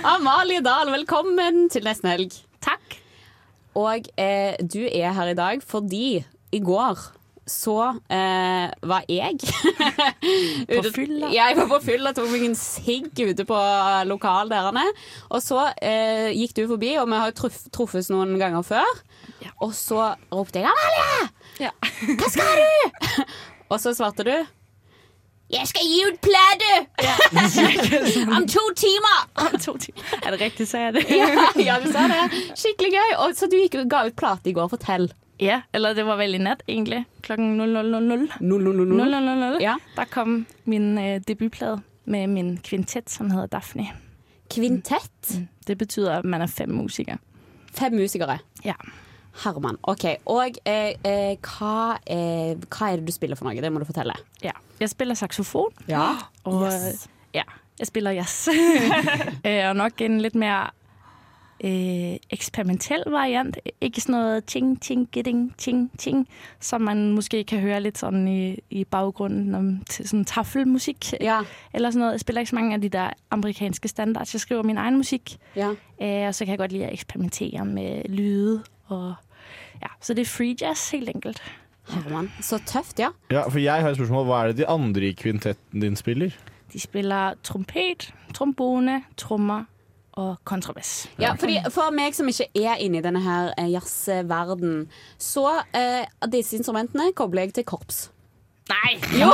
H: Amalie Dahl, velkommen til nesten helg. Takk. Og eh, du er her i dag fordi i går så eh, var jeg [laughs] På fylla? Ja, jeg var på fylla, tok meg en sigg ute på lokal der han er. Og så eh, gikk du forbi, og vi har jo truff, truffes noen ganger før. Og så ropte jeg 'Amalie! Hva skal du?' og så svarte du jeg skal gi ut plate! [laughs] Om to timer! Er det riktig, sier jeg det? ja, [laughs] ja, du sa det. Skikkelig gøy. Og, så du gikk og ga ut plate i går. Fortell.
I: Ja, eller det var veldig nett, egentlig. Klokken 00.00.
H: 00.00. Ja.
I: Der kom min øh, debutplade med min kvintet, som hedder Daphne.
H: Kvintett?
I: Det betyder, at man er fem musikere.
H: Fem musikere.
I: Ja.
H: Herman. OK. Og eh, eh, hva, eh, hva er det du spiller for noe? Det må du fortelle.
I: ja. Jeg spiller saxofon.
H: Ja.
I: Og
H: Yes.
I: øh, ja, jeg spiller jazz. Øh, og nok en litt mer øh, eksperimentell variant. Ikke sånn noe ting, ting, gidding, ting, ting, som man måske kan høre litt sånn i, i baggrunnen om til sånn taffelmusikk. Eller sånn noe. Jeg spiller ikke så mange av de der amerikanske standards. Jeg skriver min egen musikk. Øh, og så kan jeg godt lide å eksperimentere med lyde og Ja, så det er free jazz, helt enkelt.
H: Herman. Så tøft, ja.
E: Ja, for jeg har et spørsmål. Hva er det de andre i kvintetten din spiller?
I: De spiller trompet, trombone, trommer og kontrabass.
H: Ja, fordi For meg som ikke er inne i denne her eh, jazzverden, så eh, disse instrumentene kobler jeg til korps.
I: Nei!
H: Jo!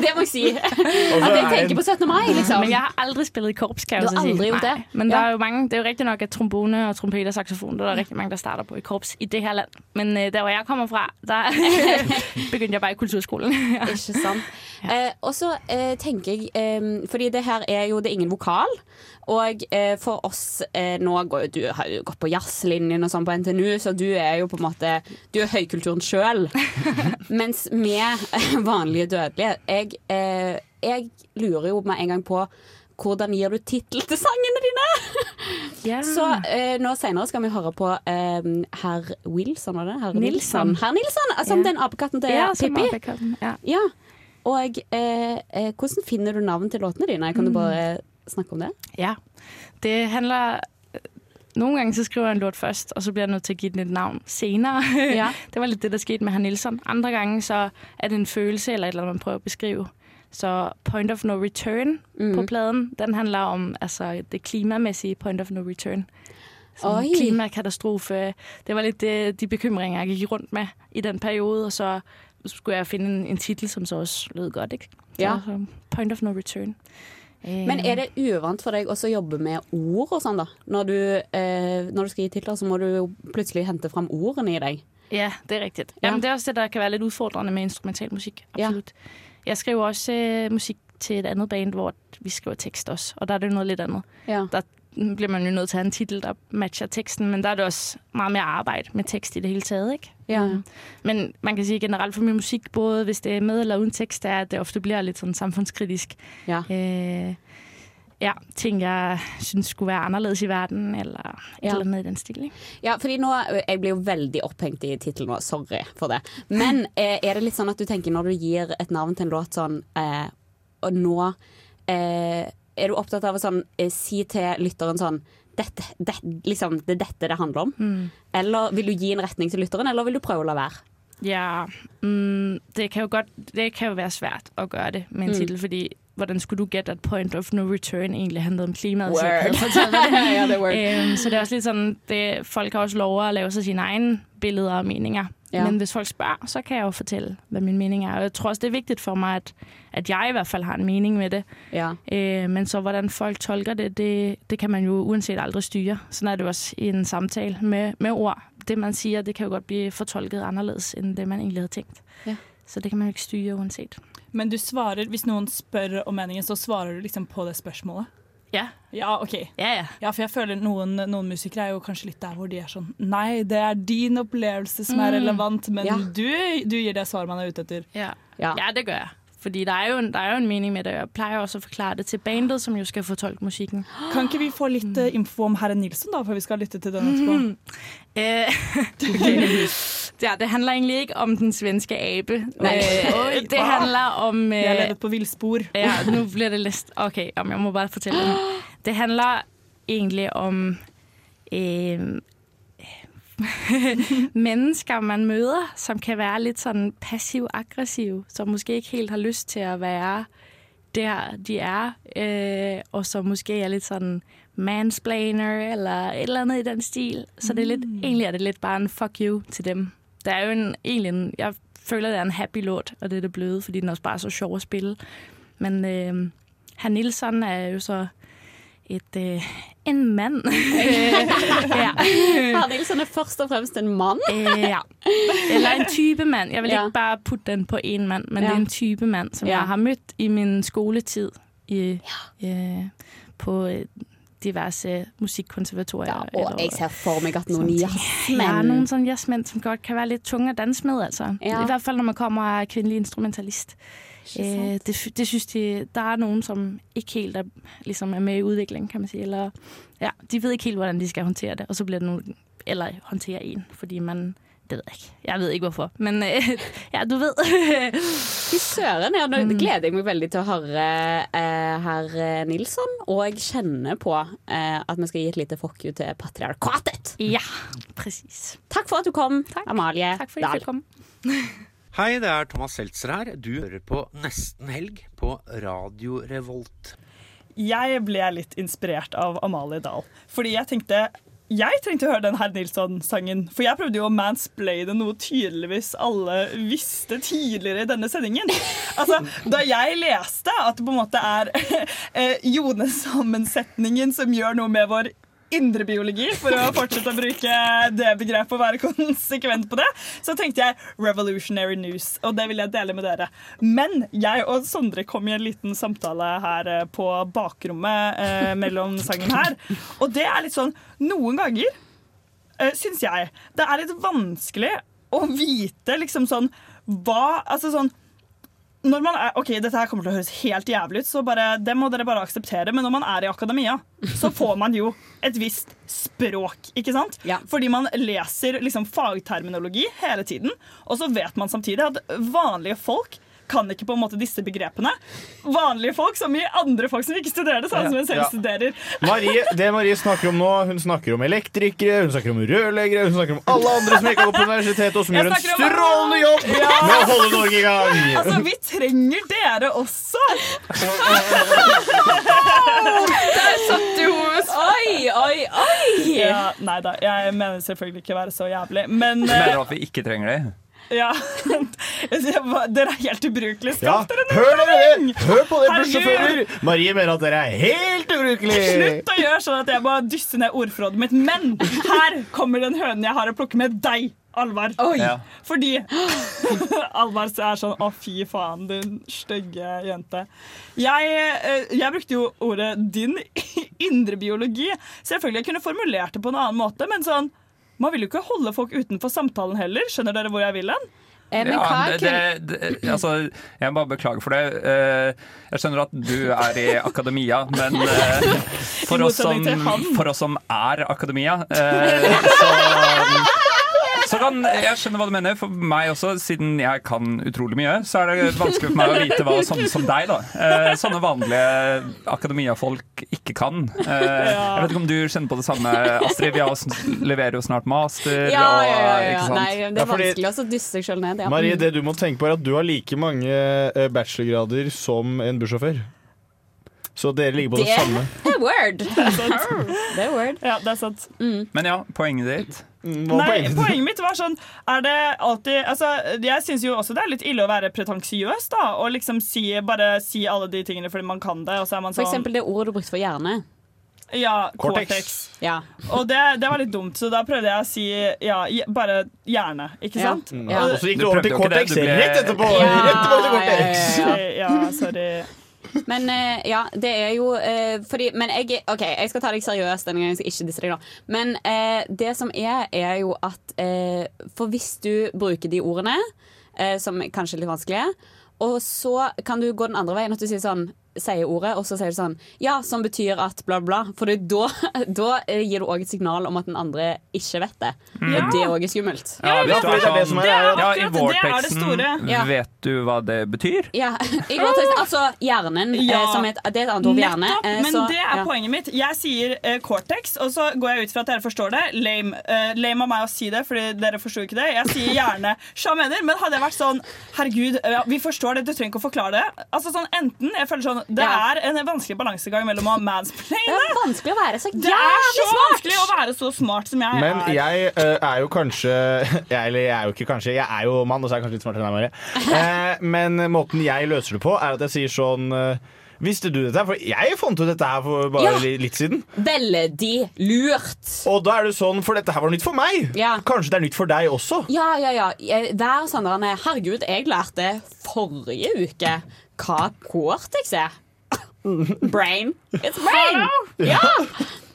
H: det må jeg si. At jeg tenker på 17. mai, liksom.
I: Men jeg har aldri spilt i korps, kan jeg
H: Du
I: også
H: har
I: si.
H: aldri gjort det?
I: Nei, Men
H: Ja.
I: det er jo mange, det er jo riktig nok at trombone og trompet og saksofon, det er der rigtig mange, der starter på i korps i det her land. Men øh, der hvor jeg kommer fra,
H: [laughs]
I: der begyndte jeg bare i kulturskolen. [laughs]
H: Ikke sant. Eh, og så eh, tenker jeg eh, Fordi det her er jo det er ingen vokal. Og eh, for oss eh, nå går, jo- Du har jo gått på jazzlinjen og sånn på NTNU, så du er jo på en måte Du er høykulturen [laughs] sjøl. Mens vi [laughs] vanlige dødelige jeg, eh, jeg lurer jo med en gang på hvordan gir du tittel til sangene dine? Så
I: øh,
H: eh, nå senere skal vi høre på eh, herr Wilson, var det? Herr
I: Nilsson.
H: Herr Nilsson, altså, om
I: Ja.
H: den apekatten til
I: Ja, som
H: Pippi.
I: apekatten, ja.
H: Ja. Og eh, eh, hvordan finner du navn til låtene dine?
I: Mm.
H: Kan du bare eh, snakke om det?
I: Ja. Det handler Nogle gange så skriver jeg en låt først, og så bliver jeg nødt til at give den et navn senere.
H: Ja.
I: [laughs] det var lidt det, der skete med herr Nielsen. Andre gange så er det en følelse eller et eller andet, man prøver at beskrive. Så Point of No Return
H: Mm.
I: på pladen, den handler om altså, det klimamæssige Point of No Return. Sådan
H: Oj.
I: klimakatastrofe. Det var lidt det, de bekymringer, jeg gik rundt med i den periode, og så skulle jeg finde en, en titel, som så også lød godt, ikke? Så,
H: Ja.
I: så Point of No Return. Øh,
H: Men er det uvant for deg også å jobbe med ord og sånn, da? Når du, eh, når du skal gi titler, så må du jo plutselig hente fram ordene i deg.
I: Ja, det er rigtigt. Jamen, Det er også det, der kan være lidt udfordrende med instrumental musik. Absolut. Jeg skriver også øh, musik til et andet band, hvor vi skriver tekst også, og der er det jo noget lidt andet.
H: Ja.
I: Der bliver man jo nødt til at have en titel, der matcher teksten, men der er det også meget mere arbejde med tekst i det hele taget, ikke?
H: Ja.
I: Men man kan sige generelt for min musik, både hvis det er med eller uden tekst, er, at det ofte bliver lidt sådan samfundskritisk.
H: Ja.
I: Øh, ja, ting jeg synes skulle være anderledes i verden, eller et
H: Ja.
I: eller andet i den stil, ikke?
H: Ja, fordi nå, Jeg blir jo veldig opphengt i tittelen nå, sorry for det. Men eh, er det litt sånn at du tenker når du gir et navn til en låt sånn eh, Og nå eh, er du opptatt av å sånn, eh, si til lytteren sånn dette, det, liksom, Det er dette det handler om.
I: Mm.
H: Eller vil du gi en retning til lytteren, eller vil du prøve å la være?
I: Ja, mm, det kan jo godt det kan jo være svært at gøre det med en
H: Mm.
I: titel, fordi hvordan skulle du gætte, at Point of No Return egentlig handlede om klimaet?
H: Word.
I: Så, jeg kan jo fortælle dig det.
H: [laughs] Ja, det er word.
I: Øhm, så det er også lidt sådan, det, folk har også lov at lave sig sine egne billeder og meninger.
H: Ja.
I: Men hvis folk spørger, så kan jeg jo fortælle, hvad min mening er. Og jeg tror også, det er vigtigt for mig, at, at jeg i hvert fald har en mening med det.
H: Ja.
I: Øh, men så hvordan folk tolker det, det, det kan man jo uanset aldrig styre. Sådan er det jo også i en samtale med, med ord. Det man siger, det kan jo godt blive fortolket anderledes, end det man egentlig havde tænkt.
H: Ja.
I: Så det kan man jo ikke styre uanset.
W: Men du svarer, hvis noen spør om meningen, så svarer du liksom på det spørsmålet?
I: Ja.
W: Ja, ok. Ja, for jeg føler noen, noen musikere er jo kanskje litt der hvor de er sånn Nei, det er din opplevelse som er
I: Mm.
W: relevant, men
I: Ja.
W: du, du gir det svaret man er ute etter.
I: Ja. ja, det gør jeg. Fordi der er, jo en, der er jo en mening med det, og jeg plejer også at forklare det til bandet, som jo skal fortolke musikken. Mm.
W: Kan ikke vi få øh, litt
I: Øh, [laughs]
W: eh, info om herre Nilsen, da, før vi skal lytte til den etterpå?
I: Eh,
X: Ja, det handler egentlig ikke om den svenske ape.
U: Nei.
X: Eh,
I: Øh,
U: Oi,
X: det
U: hva?
X: handler om
U: Jeg har
X: levet på villspor. Ja, nå blir det lest OK, ja, men jeg må bare fortelle.
W: [gasps]
X: Den. Det handler egentlig om eh,
I: øh,
X: mennesker man møter, som kan være litt sånn passiv-aggressiv, som kanskje ikke helt har lyst til å være der de er, øh, og som
H: [laughs]
X: måske er litt sånn mansplainer eller et eller annet i den stil. Så det er litt, egentlig er det litt bare en fuck you til dem. Det er jo en, egentlig en, jeg føler det er en happy låt, og det er det blevet, fordi den er også bare er så sjov å spille. Men øh, herr Nilsson er jo så et, øh, en mann. ja.
H: Herr Nilsson er sånn først og fremst en mann.
X: ja. Eller en type mand. Jeg vil
H: Ja.
X: ikke bare putte den på en mand, men
H: Ja.
X: det er en type mand, som
H: Ja.
X: jeg har mødt i min skoletid i, eh, på eh, diverse musikkonservatorier.
H: Ja, og jeg ser for meg at
X: Sånn.
H: noen jazzmenn-
X: Ja, noen sånne jazzmenn som godt kan være litt tunge å danse med, altså.
H: Ja.
X: I hvert fall når man kommer og er kvinnelig instrumentalist.
H: Ikke sant.
X: Eh, det, sy- det synes de, der er noen som ikke helt er, ligesom er med i udviklingen, kan man sige. Eller, ja, de ved ikke helt, hvordan de skal håndtere det, og så bliver det nogen, eller håndtere en, fordi man, det ved jeg ikke. Jeg ved ikke, hvorfor, men øh, [laughs] ja, du ved. [laughs]
H: Fy søren, ja, nå
X: Mm.
H: gleder jeg meg veldig til å høre eh, herr eh, Nilsson. Og jeg kjenner på eh, at vi skal gi et lite fuck you til patriarkatet.
X: Ja, presis.
H: Takk for at du kom, Amalie
X: Takk for at jeg fikk komme.
A: Hei, det er Thomas Seltzer her. Du hører på Nesten Helg på Radio Revolt.
I: Jeg ble litt inspirert av Amalie Dahl. Fordi jeg tenkte jeg trengte å høre den herr Nilsson-sangen. For jeg prøvde jo å mansplaine noe tydeligvis alle visste tidligere i denne sendingen. Altså, Da jeg leste at det på en måte er [laughs] eh, jonesammensetningen som gjør noe med vår indre biologi, for å fortsette å bruke det begrepet og være [laughs] konsekvent på det, så tenkte jeg revolutionary news, og det vil jeg dele med dere. Men jeg og Sondre kom i en liten samtale her eh, på bakrommet eh, mellom sangen her, og det er litt sånn noen ganger uh, syns jeg det er litt vanskelig å vite liksom sånn hva Altså sånn når man er, ok, Dette her kommer til å høres helt jævlig ut, så bare, det må dere bare akseptere. Men når man er i akademia, så får man jo et visst språk. ikke sant? Fordi man leser liksom fagterminologi hele tiden. Og så vet man samtidig at vanlige folk kan ikke på en måte disse begrepene. Vanlige folk som i andre folk som ikke studerer det samme som en selv
E: Ja.
I: studerer.
E: Marie, det Marie snakker om nå, hun snakker om elektrikere, hun snakker om rørleggere, hun snakker om alle andre som ikke har gått på universitetet, og som
I: Jeg
E: gjør en
I: snakker om-
E: strålende jobb
I: Ja.
E: med å holde Norge i gang.
I: Altså, vi trenger dere også!
H: Der
D: satt jo
H: Oi, oi, oi!
I: Ja, nei da, jeg mener selvfølgelig ikke å være så jævlig, men
G: Du
I: eh,
G: mener at vi ikke trenger det?
I: ja. [laughs] Jeg var- Dere er helt ubrukelige. Skaff dere en
E: Hør dere
I: utdanning!
E: det! Hør på det,
I: Herregud!
E: bussjåfører! Marie mener at dere er helt ubrukelige.
I: Slutt å gjøre sånn at jeg må dysse ned ordforrådet mitt. Men her kommer den hønen jeg har å plukke med deg, Alvar.
E: Ja.
I: Fordi [gasps] Alvar er sånn Å, fy faen, din stygge jente. Jeg, eh, jeg brukte jo ordet din indre biologi. Selvfølgelig jeg kunne formulert det på en annen måte, men sånn Man vil jo ikke holde folk utenfor samtalen heller. Skjønner dere hvor jeg vil hen?
G: Ja, det, det, det, altså, jeg bare beklager for det. Eh, Jeg skjønner at du er i akademia,
H: [laughs]
G: men eh, for,
I: I
G: oss som,
I: motsetning til han.
G: for oss som er akademia, eh, så så kan, jeg skjønner hva du mener. For meg også, siden jeg kan utrolig mye, så er det vanskelig for meg å vite hva sånne som deg, da. eh, Sånne vanlige akademiafolk ikke kan. Eh, Jeg vet ikke om du kjenner på det samme, Astrid. Vi har også, leverer jo snart master.
H: Ja, ja, ja,
G: og-
H: ja.
G: ikke sant?
H: Nei, det
E: Ja,
H: er
E: fordi-
H: vanskelig også å dysse seg sjøl ned. Ja.
E: Marie,
H: Mm.
E: det du må tenke på er at du har like mange eh, bachelorgrader som en bussjåfør. Så dere ligger på det,
H: Det-
E: samme.
H: Det er word. Det er word.
I: Ja, det er sant.
G: Men ja, poenget ditt.
I: Nei, poenget mitt var sånn Er det alltid Altså, jeg syns jo også det er litt ille å være pretensiøs, da. Og liksom si, bare si alle de tingene fordi man kan det, og så er man
H: For
I: sånn
H: eksempel det ordet du brukte for hjerne.
I: Ja,
H: Cortex.
I: cortex.
H: Ja.
I: Og det, det var litt dumt, så da prøvde jeg å si ja, i- bare hjerne, ikke
H: Ja.
I: sant?
E: Ja. Og så gikk Du du over til prøvde jo ikke det, Cortex du ble- rett etterpå.
H: Ja,
E: Rett tilbake til Cortex.
H: ja, ja,
I: ja, sorry.
H: Men eh, ja, det er jo eh, fordi Men jeg, OK, jeg skal ta deg seriøst denne gangen. Jeg skal ikke disse deg, da. Men eh, det som er, er jo at eh, For hvis du bruker de ordene, eh, som er kanskje er litt vanskelige, og så kan du gå den andre veien at du sier sånn sier ordet, og så sier du sånn Ja, som betyr at bla, bla. bla». For det, da, da [laughs] eh, gir du òg et signal om at den andre ikke vet det.
C: Mm.
G: Ja.
H: Og det òg er skummelt.
G: Ja, hvis du er sånn- ja, I vårteksten
H: Ja.
G: vet du hva det betyr?
H: Ja, [laughs] i går tenkte jeg- altså hjernen,
C: Ja.
H: eh, som er et, det er et annet ord, hjerne.
C: Nettopp,
H: eh,
C: men
H: så-
C: det er
H: ja.
C: poenget mitt. Jeg sier eh, cortex, og så går jeg ut fra at dere forstår det. Lame, Eh, lame av meg å si det, fordi dere forsto ikke det. Jeg sier
H: [laughs]
C: gjerne sja mener, men hadde jeg vært sånn Herregud, eh, ja, vi forstår det, du trenger ikke å forklare det. Altså sånn enten, jeg føler sånn Det
H: Ja.
C: er en vanskelig balansegang mellom å mansplaine
H: Det er vanskelig å være så
C: Det er
H: jævlig
C: så
H: smart!
C: vanskelig å være så smart som jeg
E: Men
C: er.
E: jeg eh, er jo kanskje [laughs] jeg, Eller jeg er jo ikke kanskje, jeg er jo mann, og så er jeg kanskje litt smartere enn deg, Marie. Eh, men måten jeg løser det på, er at jeg sier sånn eh, Visste du dette? her? For jeg fant ut dette her for bare
H: Ja.
E: li- litt siden.
H: Veldig lurt.
E: Og da er det sånn, for dette her var nytt for meg.
H: Ja.
E: Kanskje det er nytt for deg også.
H: Ja, ja, ja. Eh, Vær sånn der, nei, Herregud, jeg lærte forrige uke hva cortex er. [laughs] Brain. It's brain!
C: [laughs]
H: Ja.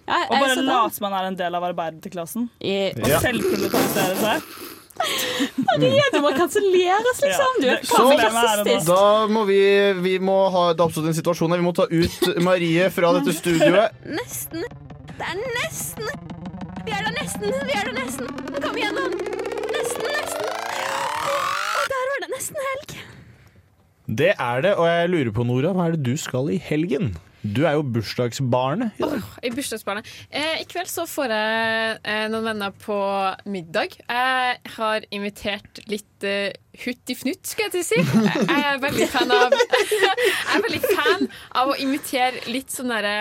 H: Ja,
C: Og
H: eh,
C: bare
H: så da-
C: late som man er en del av arbeiderklassen. Og
H: Ja.
C: selvproduksere seg.
H: Marie, du må kanselleres, liksom. Du er
E: Så
H: faen meg klassistisk.
E: da må vi, vi må ha Det har oppstått en situasjon her. Vi må ta ut Marie fra dette studioet.
D: Nesten. Det er nesten. Vi er da nesten. Vi er da nesten. Kom igjennom. Nesten, nesten. Og der var det nesten helg.
E: Det er det, og jeg lurer på, Nora, hva er det du skal i helgen? Du er jo bursdagsbarnet. i dag.
I: I bursdagsbarnet. Eh, I kveld så får jeg eh, noen venner på middag. Jeg har invitert litt eh, huttifnutt, skal jeg til å si. Jeg- Jeg er veldig fan av [laughs] Jeg er veldig fan av å invitere litt sånn derre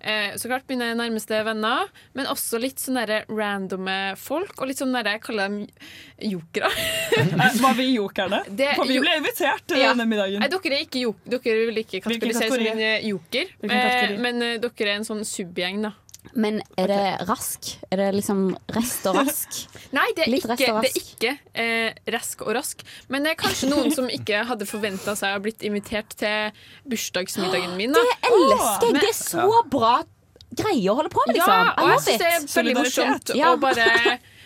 I: eh, så klart mine nærmeste venner, men også litt sånn derre randomme folk. Og litt sånn derre jeg kaller dem
C: [laughs]
I: jokere.
C: Eh, Var vi jokerne?
I: [laughs] Det-
C: For vi ble invitert til
I: Ja.
C: denne middagen.
I: Nei, dere er ikke jok dere vil ikke kategoriseres som
C: kategori?
I: en eh, joker,
C: Hvilken
I: eh,
C: kategori?
I: men eh, dere er en sånn subgjeng, da.
H: Men er det rask? Er det liksom rest og rask?
I: Nei, det er
H: Litt
I: ikke,
H: rask og
I: det er ikke eh, rask og rask. Men det er kanskje noen som ikke hadde forventa seg å blitt invitert til bursdagsmiddagen min. [gasps] Da.
H: Det elsker jeg!
I: Men-
H: Det er så bra greier å holde på med, liksom.
I: Ja,
H: I
I: og jeg
H: love
I: syns det er
H: it.
I: veldig morsomt
H: Ja.
I: å
H: [laughs]
I: bare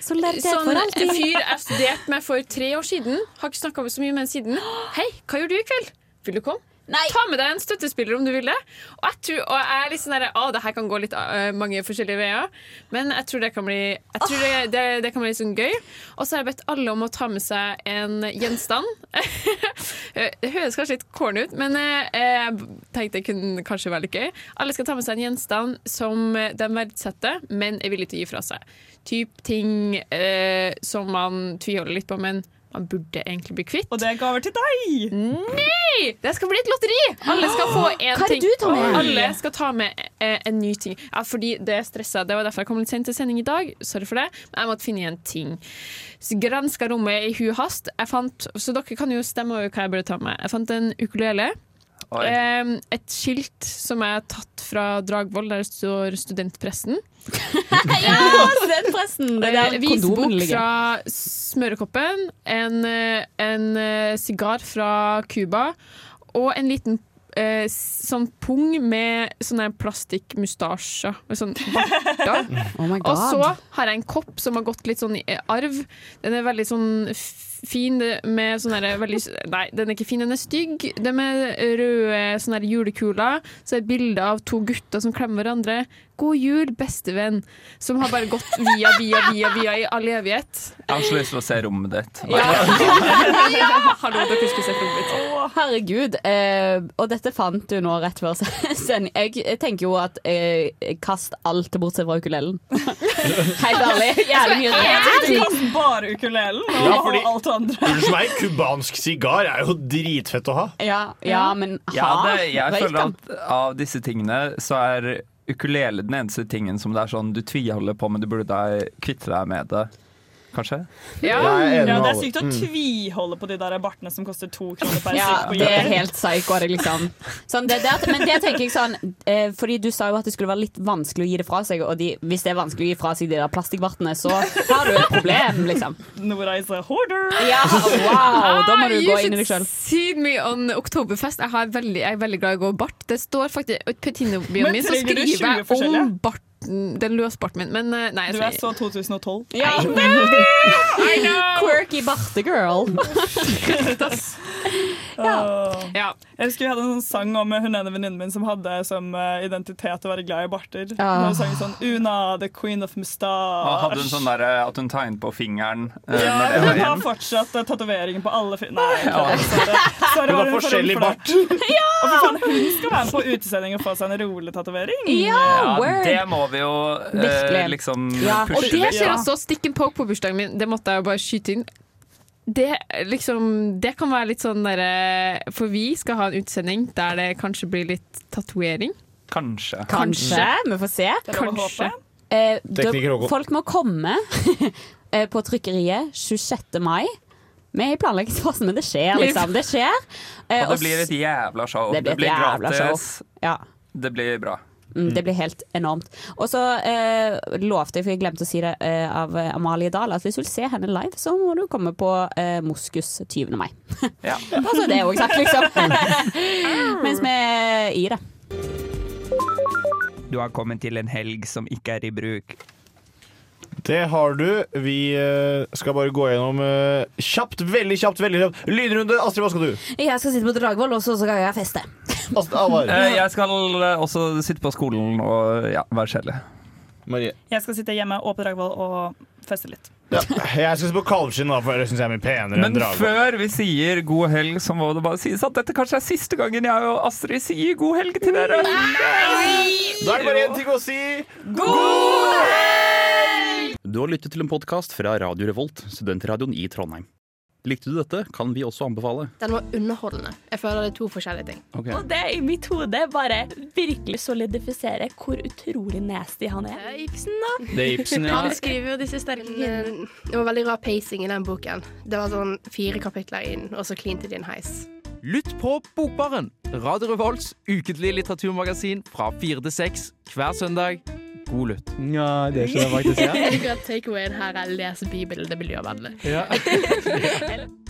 H: Solidaritet
I: Sånn
H: for
I: en
H: alltid.
I: fyr jeg studerte med for tre år siden, har ikke snakka så mye med ham siden. Hei, hva gjør du i kveld? Vil du komme? Ta med deg en støttespiller om du vil det. Og jeg tror, og jeg er litt sånn der, å, det her kan gå litt øh, mange forskjellige veier, men jeg tror det kan bli, jeg tror det, det, det kan bli litt sånn gøy. Og så har jeg bedt alle om å ta med seg en gjenstand. [laughs] Eh, det høres kanskje litt corny ut, men eh, jeg tenkte det kunne kanskje være litt gøy. Alle skal ta med seg en gjenstand som de verdsetter, men er villig til å gi fra seg. Typ ting eh, som man tviholder litt på, men man burde egentlig bli kvitt.
C: Og det er gaver til deg!
I: Nei! Det skal bli et lotteri! Alle skal få
C: Hva er
I: én
C: det
I: ting.
C: du tar med?
I: Alle skal ta med eh, en ny ting. Ja, fordi det er stressa. Det var derfor jeg kom litt sent til sending i dag. Sorry for det. Men jeg måtte finne igjen ting. Så Granska rommet i hu og hast. Jeg fant, så dere kan jo stemme over hva jeg burde ta med. Jeg fant en ukulele.
G: Oi.
I: Eh, et skilt som jeg har tatt fra Dragvoll, der det står studentpressen.
H: Ja, studentpressen! Det er
I: Eh,
H: der
I: Visbok
H: kondomen ligger.
I: fra smørekoppen, en, eh, en eh, sigar fra Cuba og en liten eh, s- sånn pung med sånne plastikkmustasjer. Med sånn barter.
H: Oh my
I: og så
H: god.
I: har jeg en kopp som har gått litt sånn i eh, arv. Den er veldig sånn f- fin det- med sånn derre veldig Nei, den er ikke fin, den er stygg. Den er med røde sånne her julekuler. Så er det et bilde av to gutter som klemmer hverandre. God jul, bestevenn. Som har bare gått via, via, via, via i all evighet.
G: Jeg har så lyst til å se rommet ditt.
I: Ja! [laughs] Hallo, dere skulle sett rommet mitt.
H: Å, herregud. Eh, og dette fant du nå rett før [laughs] sending. Jeg, jeg tenker jo at eh, kast alt bortsett fra ukulelen. [laughs] Helt ærlig. Jævlig mye
C: Jeg
H: rart.
C: tenkte bare ukulelen og
E: Ja, fordi-
C: alt det andre.
E: Unnskyld meg, cubansk sigar er jo dritfett å ha.
H: Ja, ja, men ha
G: Ja, det, jeg
H: røyk
G: føler
H: den.
G: at av disse tingene så er ukulele den eneste tingen som det er sånn du tviholder på, men du burde da kvitte deg med det. Kanskje?
C: Ja,
G: Jeg er enig med
C: det er
G: alle.
C: sykt å
G: Mm.
C: tviholde på de der bartene som koster to kroner per
H: Ja,
C: stykk på
H: det er
C: Jørgen.
H: helt psycho. Det, liksom. sånn, det, det, at- men det tenker jeg sånn eh, Fordi du sa jo at det skulle være litt vanskelig å gi det fra seg. Og de, hvis det er vanskelig å gi fra seg de der plastikkvartene, så har du et problem, liksom.
C: Nora is a hoarder.
H: [laughs] Ja, wow, da må du
I: Ah,
H: gå
I: you
H: inn i deg selv.
I: should See me on Oktoberfest. Jeg, har veldig, jeg er veldig glad i å gå bart. Det står faktisk på
C: Men
I: Tinnobioen min, så
C: trenger du 20
I: skriver jeg
C: forskjellige?
I: om barten, den løsbarten min. Men eh, nei, jeg
C: Du er så
I: trenger- [laughs]
C: 2012.
H: [laughs]
I: Ja,
C: Nei.
I: det er det! I know!
H: Quirky bartegirl.
I: Ja. Jeg husker vi hadde en sånn sang om hun ene venninnen min som hadde som eh, identitet å være glad i barter.
U: Ah.
I: Hun sang sånn Una, the queen of
G: Og
I: mustache.
G: hadde hun sånn derre at hun tegnet på fingeren eh, når det
I: ja, hun
G: var
I: har
G: igjen?
I: fortsatt eh, tatoveringen på alle fi... Nei. ikke
G: Ja.
I: det. Sorry. Sorry,
G: Hun har
I: var for
G: forskjellig
I: ung for det? [laughs] Ja! Og for faen, hun skal være med på utesending og få seg en roletatovering.
G: Ja, det må vi jo eh,
D: Virkelig.
G: liksom
D: Og
G: pushe
D: det
G: litt.
D: skjer også. Stikk and poke på bursdagen min, det måtte jeg jo bare skyte inn. Det, liksom, det kan være litt sånn derre For vi skal ha en utsending der det kanskje blir litt tatovering.
G: Kanskje.
H: Kanskje. Vi får se.
D: Det er lov å
H: Kanskje.
D: håpe.
H: Eh,
G: Tekniker
H: da-
G: Håkon.
H: folk må komme [laughs] eh, på trykkeriet 26. mai. Vi er i planleggingsfasen, men det skjer, liksom. Det skjer. Eh,
G: Og
H: og
G: det blir et jævla show.
H: Det blir et jævla show.
G: gratis.
H: Ja.
G: Det blir bra.
H: Mm, det blir helt enormt. Og så eh, lovte jeg, for jeg glemte å si det, eh, av eh, Amalie Dahl at hvis du vil se henne live, så må du komme på eh, Moskus 20. mai. [laughs]
G: Ja.
H: Og så det òg sagt,
F: [laughs]
H: liksom. Mens vi er i det.
C: Du har kommet til en helg som ikke er i bruk.
E: Det har du. Vi eh, skal bare gå gjennom eh, kjapt, veldig kjapt, veldig kjapt. Lynrunde. Astrid, hva skal du?
F: Jeg skal sitte på Dragvoll, og så skal jeg feste.
G: Eh, Jeg skal eh, også sitte på skolen og ja, være kjedelig.
E: Marie.
I: Jeg skal sitte hjemme og på Dragvoll og feste litt.
E: Jeg skal se på Kalvskinn, da, for det syns jeg er mye penere enn
G: Men
E: Drage.
G: før vi sier god helg, så må det bare sies at dette kanskje er siste gangen jeg og Astrid sier god helg til dere.
E: Da er det bare én ting å si.
G: God
J: Du har lyttet til en podkast fra Radio Revolt, studentradioen i Trondheim. Likte du dette, kan vi også anbefale.
Q: Den var underholdende. Jeg føler det er to forskjellige ting.
F: Og det i mitt hode bare virkelig solidifiserer hvor utrolig nasty han er.
Q: Ibsen, da.
J: Det er Ibsen, ja.
Q: Han skriver jo disse sterke kvinnene. Det var veldig rar pacing i den boken. Det var sånn fire kapitler inn, og så klinte de en heis.
Y: Lytt på Bokbaren, Radio Revolts ukentlige litteraturmagasin fra fire til seks hver søndag. God lytt. Ja, det
Q: Jeg liker at takeawayen her er les Bibelen, det er miljøvennlig.
Y: Ja.